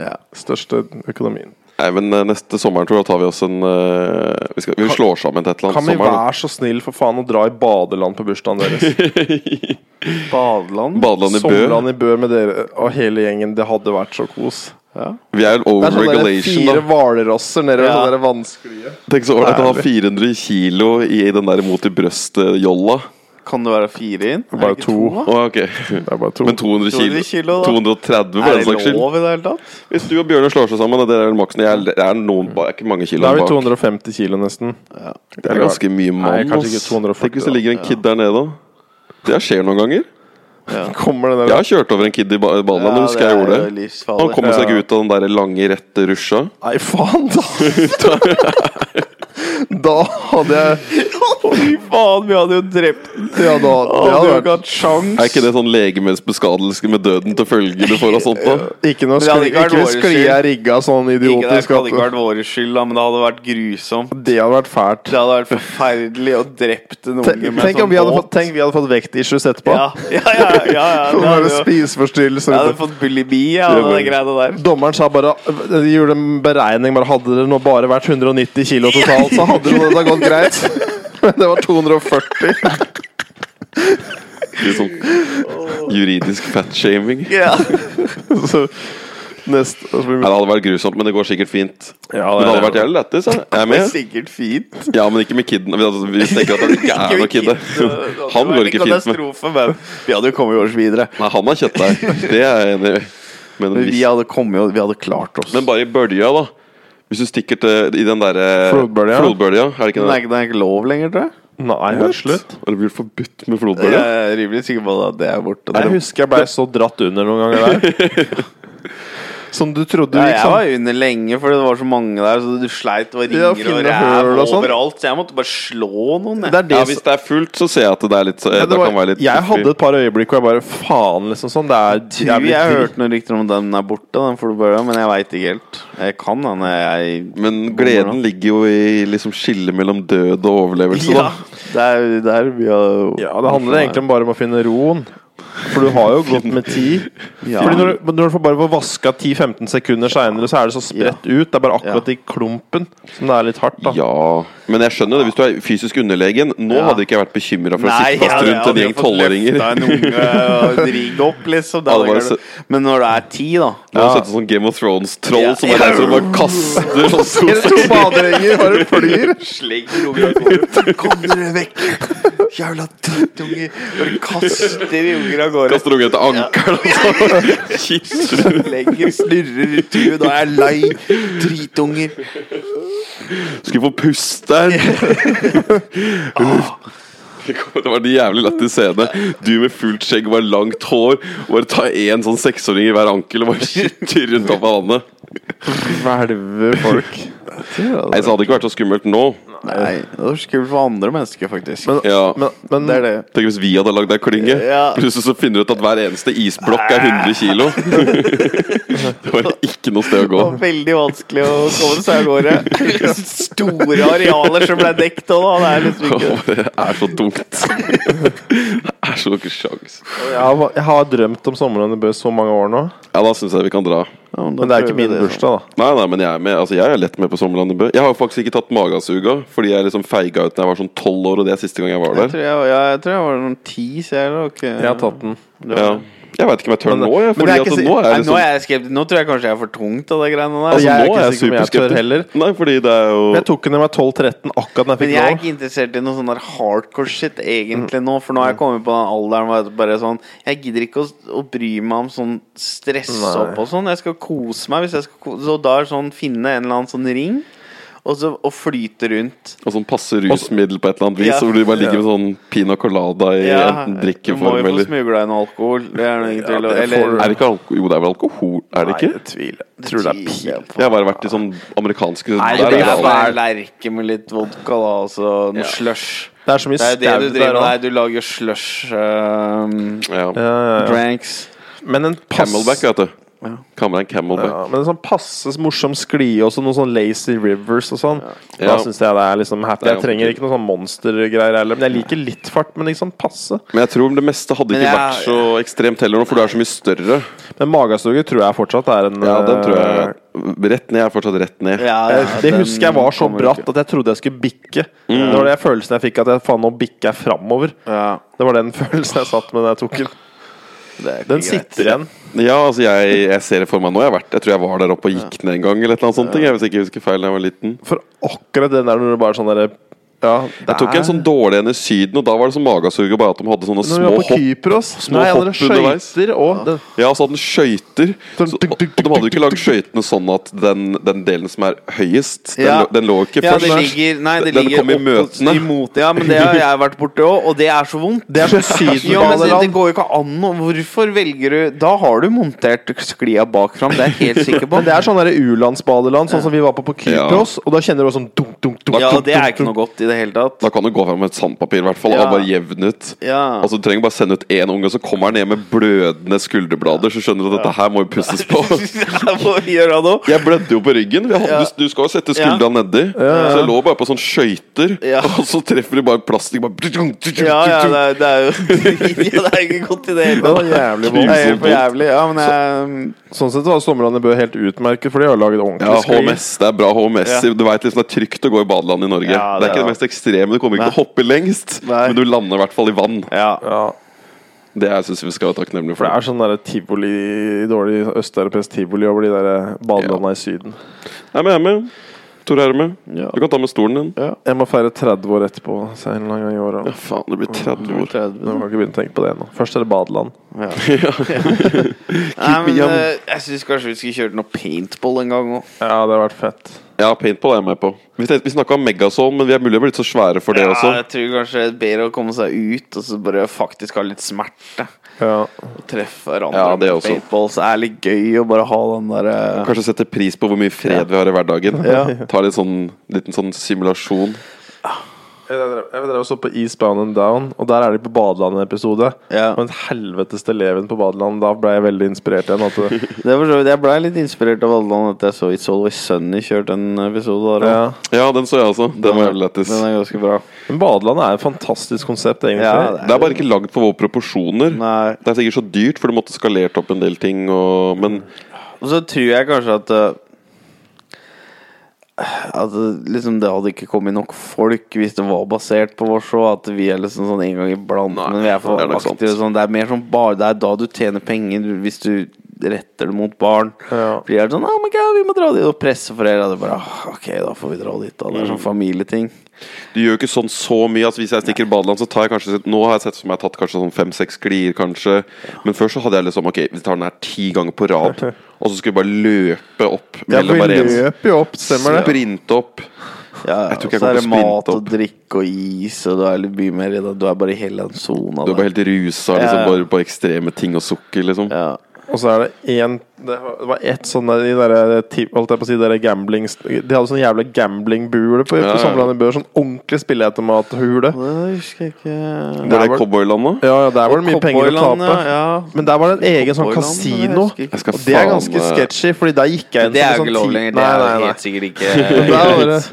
B: Ja.
A: største økonomien.
C: Nei, men eh, Neste sommeren tror jeg tar vi oss en eh, Vi, skal, vi slår sammen til et eller
A: Kan
C: annet
A: vi
C: sommeren.
A: være så snill for faen å dra i badeland på bursdagen deres?
B: Badeland.
C: Badeland i Bø.
A: Sommerland i Bø med dere og hele gjengen. Det hadde vært så kos.
B: Ja.
C: Vi er
A: Det
C: over
A: er sånne der
C: regulation,
A: fire
C: da.
A: hvalerosser nedover
B: Ja.
A: sånne der vanskelige
C: Tenk så ålreit å ha 400 kilo i den der mot i brøstet-jolla.
B: Kan det være fire inn? Er det
A: Bare
B: ikke
A: to.
B: da?
C: Å, ok.
A: Det er bare to.
C: Men 200 kilo,
B: 200 kilo, da.
C: 230 for
B: Er
C: den saks
B: det
C: skyld.
B: lov i det hele tatt?
C: Hvis du og Bjørnar slår seg sammen, og dere er vel maksen Jeg er, jeg er noen ba- jeg er ikke mange kilo
A: Da er vi
C: bak.
A: 250 kilo nesten.
C: Det er ganske mye
A: Nei,
C: mann.
A: kanskje ikke
C: ass.
A: 240
C: Tenk hvis det
A: da.
C: ligger en kid der nede, da. Det skjer noen ganger.
A: Kommer den der
C: Jeg har kjørt over en kid i ba- badelandet, husker jeg gjorde det. Han
B: det.
C: kommer seg ikke ut av den der lange, rette rusja.
A: Nei, faen, da! da hadde jeg
B: Fy faen, vi hadde jo drept den!
A: Ja, da det
B: Hadde
A: hadde
B: jo
A: vært
B: ikke hatt sjans.
C: Er ikke det sånn legemesbeskadelse med døden til følge du får av sånt, da?
A: Ikke noe
B: Men det hadde
A: skli,
B: ikke vært
A: ikke
B: vår
A: skli
B: skyld.
A: jeg rigga sånn
B: Ikke, det
A: idiotisk
B: hadde ikke
A: at
B: vært vår skyld, da, men det hadde vært grusomt.
A: Det hadde vært fælt.
B: Det hadde vært forferdelig å drept en unge
A: Tenk,
B: med
A: tenk
B: sånn
A: om vi hadde
B: båt.
A: fått, tenk vi hadde fått vektissues etterpå.
B: Ja, ja, ja. ja, ja,
A: Så
B: det
A: var
B: hadde
A: det
B: jo-
A: spiseforstyrrelser
B: Jeg hadde
A: ute.
B: fått bulimi av de greiene der.
A: Dommeren sa bare De gjorde en beregning. Bare Hadde det nå bare vært 190 kilo totalt, så hadde det da gått greit. Men det var 240.
C: Litt sånn juridisk fatshaming.
B: Ja.
A: Så neste så blir
C: Nei,
A: det-
C: det hadde vært grusomt, men det går sikkert fint.
A: Ja,
C: Men det hadde vært jævlig lættis. jeg. Jeg er
B: Det er
C: med.
B: sikkert fint.
C: Ja, men ikke med kiden. Altså, Vi tenker at han ikke er noe kid. Han går ikke fint med.
B: Katastrofe, men vi hadde jo kommet oss videre.
C: Nei, han har kjøttdeig. Det er jeg enig i. Men,
B: Men
C: hvis,
B: vi hadde kommet og vi hadde klart oss.
C: men bare i bølja, da. Hvis du stikker til, i den derre
A: Flodbølja.
C: flodbølja, Er det ikke
B: den, er
C: det?
B: ikke, den er ikke lov lenger, tror jeg.
A: Nei,
C: What?
A: helt slutt.
C: Har det blitt forbudt med
B: Jeg
C: flodbølja?
B: er rimelig sikker på at det er borte.
A: Jeg husker jeg blei så dratt under noen ganger der. Som du trodde liksom. du
B: ja,
A: gikk
C: liksom-
B: jeg
A: sammen
B: var under lenge fordi det var så mange der. Så Du sleit og ringer
A: Ja,
B: og
A: finne høl
B: ræv
A: og sånn.
B: overalt. Så jeg måtte bare slå noen.
A: Det
B: Jeg.
A: er det
C: Ja,
A: som-
C: hvis det er fullt, så ser jeg at det er litt, så,
A: Ja,
C: det
A: det var,
C: kan være litt
A: jeg hadde et par øyeblikk hvor jeg bare Faen, liksom sånn. Det er
B: Jeg tror
A: jævlig
B: jeg
A: dritt.
B: hørte noen rykter om at den er borte, den flodbølga, men jeg veit ikke helt. Jeg kan den. Jeg
C: Men gleden ligger jo i liksom skillet mellom død og overlevelse,
B: Ja,
C: da.
B: det er det er vi har-
A: Ja, det handler egentlig om bare om å finne roen. For du har jo gått med tid.
B: Ja.
A: Fordi når, du- når du får bare får vaska 10-15 sekunder seinere, så er det så spredt ut. Det er bare akkurat i klumpen som det er litt hardt. da
C: Ja Men jeg skjønner det, hvis du er fysisk underlegen Nå
B: Ja.
C: hadde ikke jeg vært bekymra for å
B: Nei,
C: sitte fast
B: ja, det-
C: rundt en gjeng tolvåringer.
B: Jeg hadde jo fått løfta en unge og rigg opp, liksom. Da
C: Ja, det var
B: hadde
C: jo
B: jeg- Men når det er ti, da
C: Nå har jeg sett sånn Game of Thrones-troll
B: Ja.
C: som bare reiser og bare kaster sånn
A: Eller to baderinger bare flyr.
B: Slegg unga av gårde. Kom dere vekk! Jævla drittunge. Bare kaster de unger av gårde.
C: Kaster ungen etter ankelen og sånn. så kisser du.
B: Legger, snurrer i tuet. Da er jeg lei. Dritunger.
C: Skal få puste her. Det var en jævlig lættis scene. Du med fullt skjegg og bare langt hår. Og bare ta én sånn seksåring i hver ankel og bare skyter rundt opp av vannet.
A: Hvelver folk.
C: Nei, så hadde det ikke vært så skummelt nå.
B: Nei, det var skummelt for andre mennesker, faktisk.
A: Men,
C: Ja.
A: men, men
B: det er det.
C: Tenk hvis vi hadde lagd ei klynge.
B: Ja.
C: Plutselig så finner du ut at hver eneste isblokk er 100 kilo. Det var ikke noe sted å gå.
B: Det var veldig vanskelig å komme seg av gårde. Store arealer som ble dekt òg, da. Det er liksom ikke
C: Åh, Det er så tungt. Det er så ikke sjans.
A: jeg, har, jeg har drømt om sommeren i Bø så mange år nå.
C: Ja, da syns jeg vi kan dra.
A: Men det er ikke min bursdag, da.
C: Nei, nei, men jeg er med Altså, jeg er lett med på Sommerland i Bø. Jeg har jo faktisk ikke tatt magesuga, fordi jeg liksom feiga ut da jeg var sånn tolv år, og det er siste gang jeg var
B: Jeg
C: der.
B: tror jeg, ja, jeg tror jeg var noen ti, så jeg eller ikke
A: Jeg har tatt den.
C: Ja. Jeg veit ikke om jeg tør
A: Men-
C: nå, jeg.
A: men
C: Fordi
A: det er
C: at
A: ikke si-
C: nå er
B: Nei,
C: jeg
B: nå
C: liksom
B: er jeg skeptisk. Nå tror jeg kanskje jeg er for tungt av de greiene der.
C: Altså,
A: jeg er
C: nå
A: ikke
C: er jeg
A: sikker på om jeg tør heller.
C: superskeptisk. Nei, fordi det er jo
A: Men Jeg tok den da jeg var 12-13, akkurat da jeg
B: men
A: fikk
B: jeg er
A: lov.
B: ikke interessert i noe sånn der hardcore shit egentlig nå, for
A: Mm.
B: nå har jeg kommet på den alderen hvor jeg bare sånn Jeg gidder ikke å, å bry meg om sånn stress
A: Nei.
B: opp og sånn. Jeg skal kose meg. Hvis jeg skal ko så da er det sånn finne en eller annen sånn ring. og, så, og flyte rundt.
C: Og sånn passe rusmiddel på et eller annet vis,
B: Ja.
C: hvor du bare ligger med sånn pina colada i enten
B: Du
C: drikkeform
B: må jo få
C: eller
B: smugla inn alkohol. Det er noe ingen tvil
A: Ja,
B: om.
A: det får du.
B: Eller
C: Er det ikke alkohol? Jo, det er vel alkohol, er det
B: Nei,
C: ikke?
B: det tviler jeg.
A: Tror det er
B: tviler jeg på.
C: Jeg har bare vært i sånn amerikanske
B: Nei,
C: der
B: det
C: er
B: er
C: det
B: bare lerke med litt vodka, da. Altså noe slush.
A: Det er så mye
B: Det er jo det
A: stout
B: du driver
A: der
B: med.
A: også.
B: Nei, du lager slush um,
C: all- ja.
A: Ja, ja, ja.
B: dranks.
A: Men en pass
C: Camelback, vet du.
B: Ja.
C: Kaller det en camelback.
A: ja, Men en sånn passe morsom sklie også, noen sånn lazy rivers og sånn. Da
C: Ja.
A: syns jeg det er liksom happy.
C: Det er
A: Jeg trenger ikke noe sånn monstergreier heller. Men jeg liker litt fart, men liksom passe.
C: Men jeg tror det meste hadde
B: Men
C: ikke
B: jeg-
C: vært så ekstremt heller nå, for du er så mye større.
A: Men magestuger tror jeg fortsatt er en
C: Ja, den tror
A: eh,
C: jeg Rett ned er fortsatt rett ned.
B: Ja, ja,
A: Eh, Det
B: den
A: husker jeg var så
B: kommer
A: bratt
B: ikke.
A: at jeg trodde jeg skulle bikke.
C: Mm.
A: Det var den følelsen jeg fikk at jeg faen nå bikker jeg framover.
B: Ja,
A: Det var den følelsen jeg satt med da jeg tok den.
B: det er ikke
A: Den
B: greit.
A: sitter igjen.
C: Ja, altså jeg, jeg ser det for meg nå. Jeg, har vært, jeg tror jeg var der oppe og gikk ned en gang. Eller et eller annet sånt, jeg, hvis jeg ikke husker feil da jeg var liten.
A: For akkurat den der når du bare sånn derre Ja, det
C: Jeg tok en sånn dårlig en i Syden, og da var det sånn magesug og bare at de hadde sånne
A: Når vi
C: små
A: var på
C: hopp.
A: Kypros
C: små
A: Nei, alle
C: hopp
A: skøyter og den,
C: Ja, så hadde den skøyter.
A: Sånn
C: Så-
A: tuk,
C: Og
A: tuk,
C: og de hadde jo ikke lagd skøytene sånn at den, den delen som er høyest, den,
B: Ja.
C: lå- den lå ikke
B: Ja,
C: først.
B: det ligger, nei, det
C: Den
B: ligger
C: kom i
B: opp-
C: møtene.
B: Imot, ja, men det har jeg vært borti òg, og det er så vondt.
A: Det er sånn
B: Ja, men det, det
A: sydenbaneland.
B: går jo ikke an å Hvorfor velger du Da har du montert sklia bakfram, det er jeg helt sikker på.
A: Men det er sånn der u-landsbadeland, sånn som vi var på på
C: Ja.
A: Kypros. Og da kjenner du også sånn dunk, dunk, dunk.
B: ja,
A: dunk,
B: det er
A: dunk,
B: ikke noe godt i det hele tatt.
C: Da kan du gå fram med et sandpapir, i hvert fall,
B: Ja.
C: og bare jevne ut.
B: Ja.
C: Altså, Du trenger bare sende ut én unge, og så kommer han ned med blødende skulderblader. Så skjønner du at dette her må jo pusses på.
B: Jeg må gjøre noe.
C: Jeg blødde jo på ryggen. Jeg hadde,
B: Ja.
C: Du skal jo sette skuldra nedi. Så jeg lå bare på sånne skøyter,
B: Ja.
C: og så treffer de bare plastikk. Bare
B: Ja, ja, det er, det er jo ja, Det er ikke godt i det hele
A: Det var
B: tatt.
A: jævlig
B: Det
A: vondt.
B: er helt for jævlig. Ja, men jeg
A: Sånn sett var Sommerlandet Bø helt utmerket, for de har laget ordentlig
C: Ja,
A: skli.
C: HMS, det er bra HMS.
B: Ja.
C: Du vet liksom Det er trygt å gå i badeland i Norge.
B: Ja,
C: det,
B: det
C: er ikke
B: er
C: det mest ekstreme. Du kommer ikke til å hoppe lengst,
B: Nei.
C: men du lander i hvert fall i vann.
B: eh, Ja.
A: Ja,
C: Det syns vi skal være takknemlige
A: for det
C: for.
A: er sånn der tivoli dårlig østeuropeisk tivoli over de der badelanda i Syden.
C: Nei, men jeg er med. Tor er med.
B: Ja.
C: Du kan ta med stolen din.
A: Jeg må feire 30 år etterpå, så en eller annen gang i året.
C: Ja, faen, det blir 30 år.
A: Nå har jeg ikke begynt å tenke på det ennå. Først er det badeland.
B: Nei, men
C: me young.
B: eh, jeg syns kanskje vi skulle kjørt noe paintball en gang òg.
A: Ja, det har vært fett.
C: Ja, paintball er jeg med på. Vi, tenkte- vi snakka om Megazone, men vi er mulig å bli litt så svære for det
B: Ja,
C: også.
B: jeg tror kanskje det er bedre å komme seg ut og så bare faktisk ha litt smerte.
A: Ja.
B: Å treffe hverandre
C: Ja, det
B: med
C: også.
B: paintball, så er det litt gøy å bare ha den eh, derre
C: Kanskje sette pris på hvor mye fred vi har i hverdagen.
B: Ja.
C: Ta litt sånn, liten sånn simulasjon.
A: Jeg drev- jeg drev og så på Eastbound and Down, og der er de på badeland en episode.
B: Ja.
A: Men helveteste eleven på badeland, da ble jeg veldig inspirert igjen. At det,
B: Det er for så vidt- Jeg blei litt inspirert av alle land etter jeg så It's Always Sunny kjørt en episode der.
A: ja.
B: også.
C: Ja, den så jeg også. Den var jævlig lættis.
B: Den er ganske bra.
A: Men badeland er et fantastisk konsept, egentlig.
B: Ja,
C: Det er bare ikke lagd for våre proporsjoner.
B: Nei.
C: Det er sikkert så dyrt, for du måtte skalert opp en del ting. Og, men
B: Og så tror jeg kanskje at eh, at det- liksom det hadde ikke kommet nok folk hvis det var basert på oss og at vi er liksom sånn en gang iblant.
C: Nei,
B: men vi er for
C: det er nok sant.
B: aktive. og Sånn. Det er mer sånn bare Det er da du tjener penger, du- hvis du retter det mot barn.
A: Ja.
B: Blir det sånn oh my God, 'Vi må dra dit og presse foreldra'. Det er bare «Ah, 'Ok, da får vi dra dit', da. Det er sånn familieting.
C: du gjør jo ikke sånn så mye. Altså, hvis jeg stikker i badeland, så tar jeg kanskje Nå har jeg sett som jeg har tatt kanskje sånn fem-seks sklier, kanskje. Men før så hadde jeg liksom Ok, vi tar den her ti ganger på rad. Og så skulle vi bare løpe opp
A: Ja,
C: mellom
A: for
C: hver
A: vi
C: en.
A: løper jo opp, stemmer det?
C: Sprinte opp.
B: Ja,
C: Jeg
B: jeg
C: tror ikke jeg
B: Eh, så
C: kommer
B: er det
C: til å
B: mat
C: sprinte
B: og drikke og is, og du er litt mye mer i det. Du er bare i hele den sona.
C: Du
B: der.
C: er bare helt rusa liksom,
B: Ja.
C: bare på ekstreme ting og sukker, liksom.
B: Ja.
A: Og så er det én Det var det var ett sånn der, de der ti- Holdt jeg på å si, de der gambling De hadde sånn jævla gamblingbule på,
C: Ja,
A: på
C: ja.
A: Sommerlandet Bø. Sånn ordentlig spilleautomathule.
B: Det husker jeg ikke
C: Var
A: Der
C: det
A: var-
C: cowboylandet?
A: Ja, ja, der var det mye penger å
B: Cowboyland,
A: tape.
B: ja.
A: Men der var det en egen sånn
B: Cowboyland,
A: kasino.
B: det husker jeg ikke.
C: Jeg skal
A: Og det er
C: faen,
A: ganske
C: eh,
A: sketchy, Fordi der gikk jeg inn
B: Det er jo
A: som en
B: ikke
A: sånn
B: lov
A: ti-
B: lenger. Det
A: Nei,
B: er
A: nei,
B: jo
A: nei.
B: helt sikkert
A: Der var
B: ikke
A: det.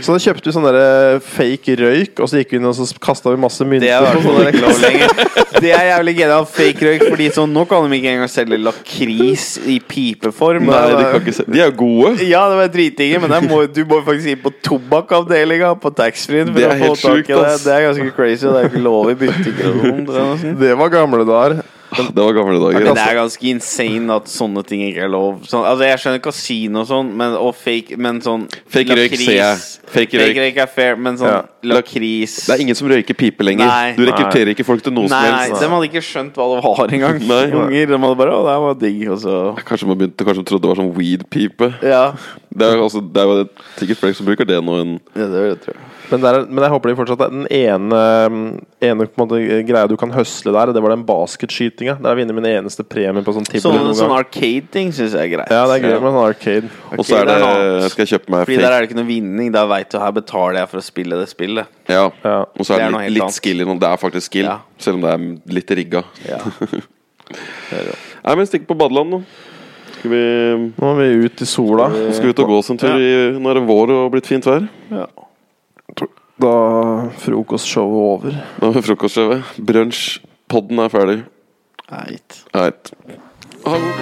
A: Så da kjøpte vi sånn der fake røyk, og så gikk vi inn og så kasta vi masse mynter.
B: Det er i hvert
A: på sånn
B: fall
A: sånne
B: ikke lov lenger. Det er jævlig genialt fake røyk, Fordi sånn nå kan de ikke engang selge lakris i pipeform. Det
C: Nei, de
B: var-
C: kan ikke se De er jo gode!
B: ja, det var dritdigge, men der må, du må faktisk inn på tobakkavdelinga på taxfree-en. for
C: Det er
B: å få
C: helt
B: tak i
C: sjukt,
B: det.
C: ass.
B: det er ganske crazy. og Det er ikke lov i butikker og sånn. Det er nesten-
A: Det var gamle dager.
C: Det var gamle dager. altså.
B: Men det er ganske insane at sånne ting ikke er lov. Sånn, altså Jeg skjønner kasino og sånn, men, og fake, men sånn
C: Fake røyk
B: lakris-
C: ser jeg. Fake røyk.
B: Fake røyk er fair, men sånn
A: Ja.
B: lakris
C: Det er ingen som røyker pipe lenger.
B: Nei.
C: Du rekrutterer ikke folk til noe
B: Nei,
C: som
B: nei,
C: helst.
B: de hadde ikke skjønt hva det var engang.
C: Nei.
B: Unger. De hadde bare 'Å, det her var digg', og så
C: Kanskje man begynte, kanskje man trodde det var sånn weed-pipe.
B: Ja.
C: Det er jo altså, det er jo sikkert flere som bruker det nå enn
B: ja det vil jeg tro.
A: Men, der, men jeg håper de fortsatt er den ene, ene på en måte, greia du kan høsle der. Det var den basketskytinga. Der har jeg vunnet min eneste premie på sånn tippel.
B: Sånne,
A: noen gang.
B: sånne arcade-ting syns jeg er greit.
A: Ja, det er gøy med sånn arcade.
C: Og så er
B: det
C: det
B: er noe annet.
C: Skal jeg kjøpe meg
B: Fordi der
C: fake
B: er det ikke noe vinning. Da veit du her betaler jeg for å spille det spillet.
C: Ja.
A: Ja.
C: Og så
B: Det
C: er
B: er
C: det
B: noe helt
C: litt, litt
B: annet.
C: skill innom. Det er faktisk skill,
B: Ja.
C: selv om det er litt rigga.
B: Ja.
C: Nei, men stikk på badeland, nå. Skal vi
A: Nå er vi ut i sola.
C: nå skal vi ut og gå oss en tur i, Nå er det vår og blitt fint vær.
A: Da er frokostshowet over.
C: Nå er frokostshowet. Brunsj. Podden er ferdig.
B: Eit.
C: Eit. Ha en god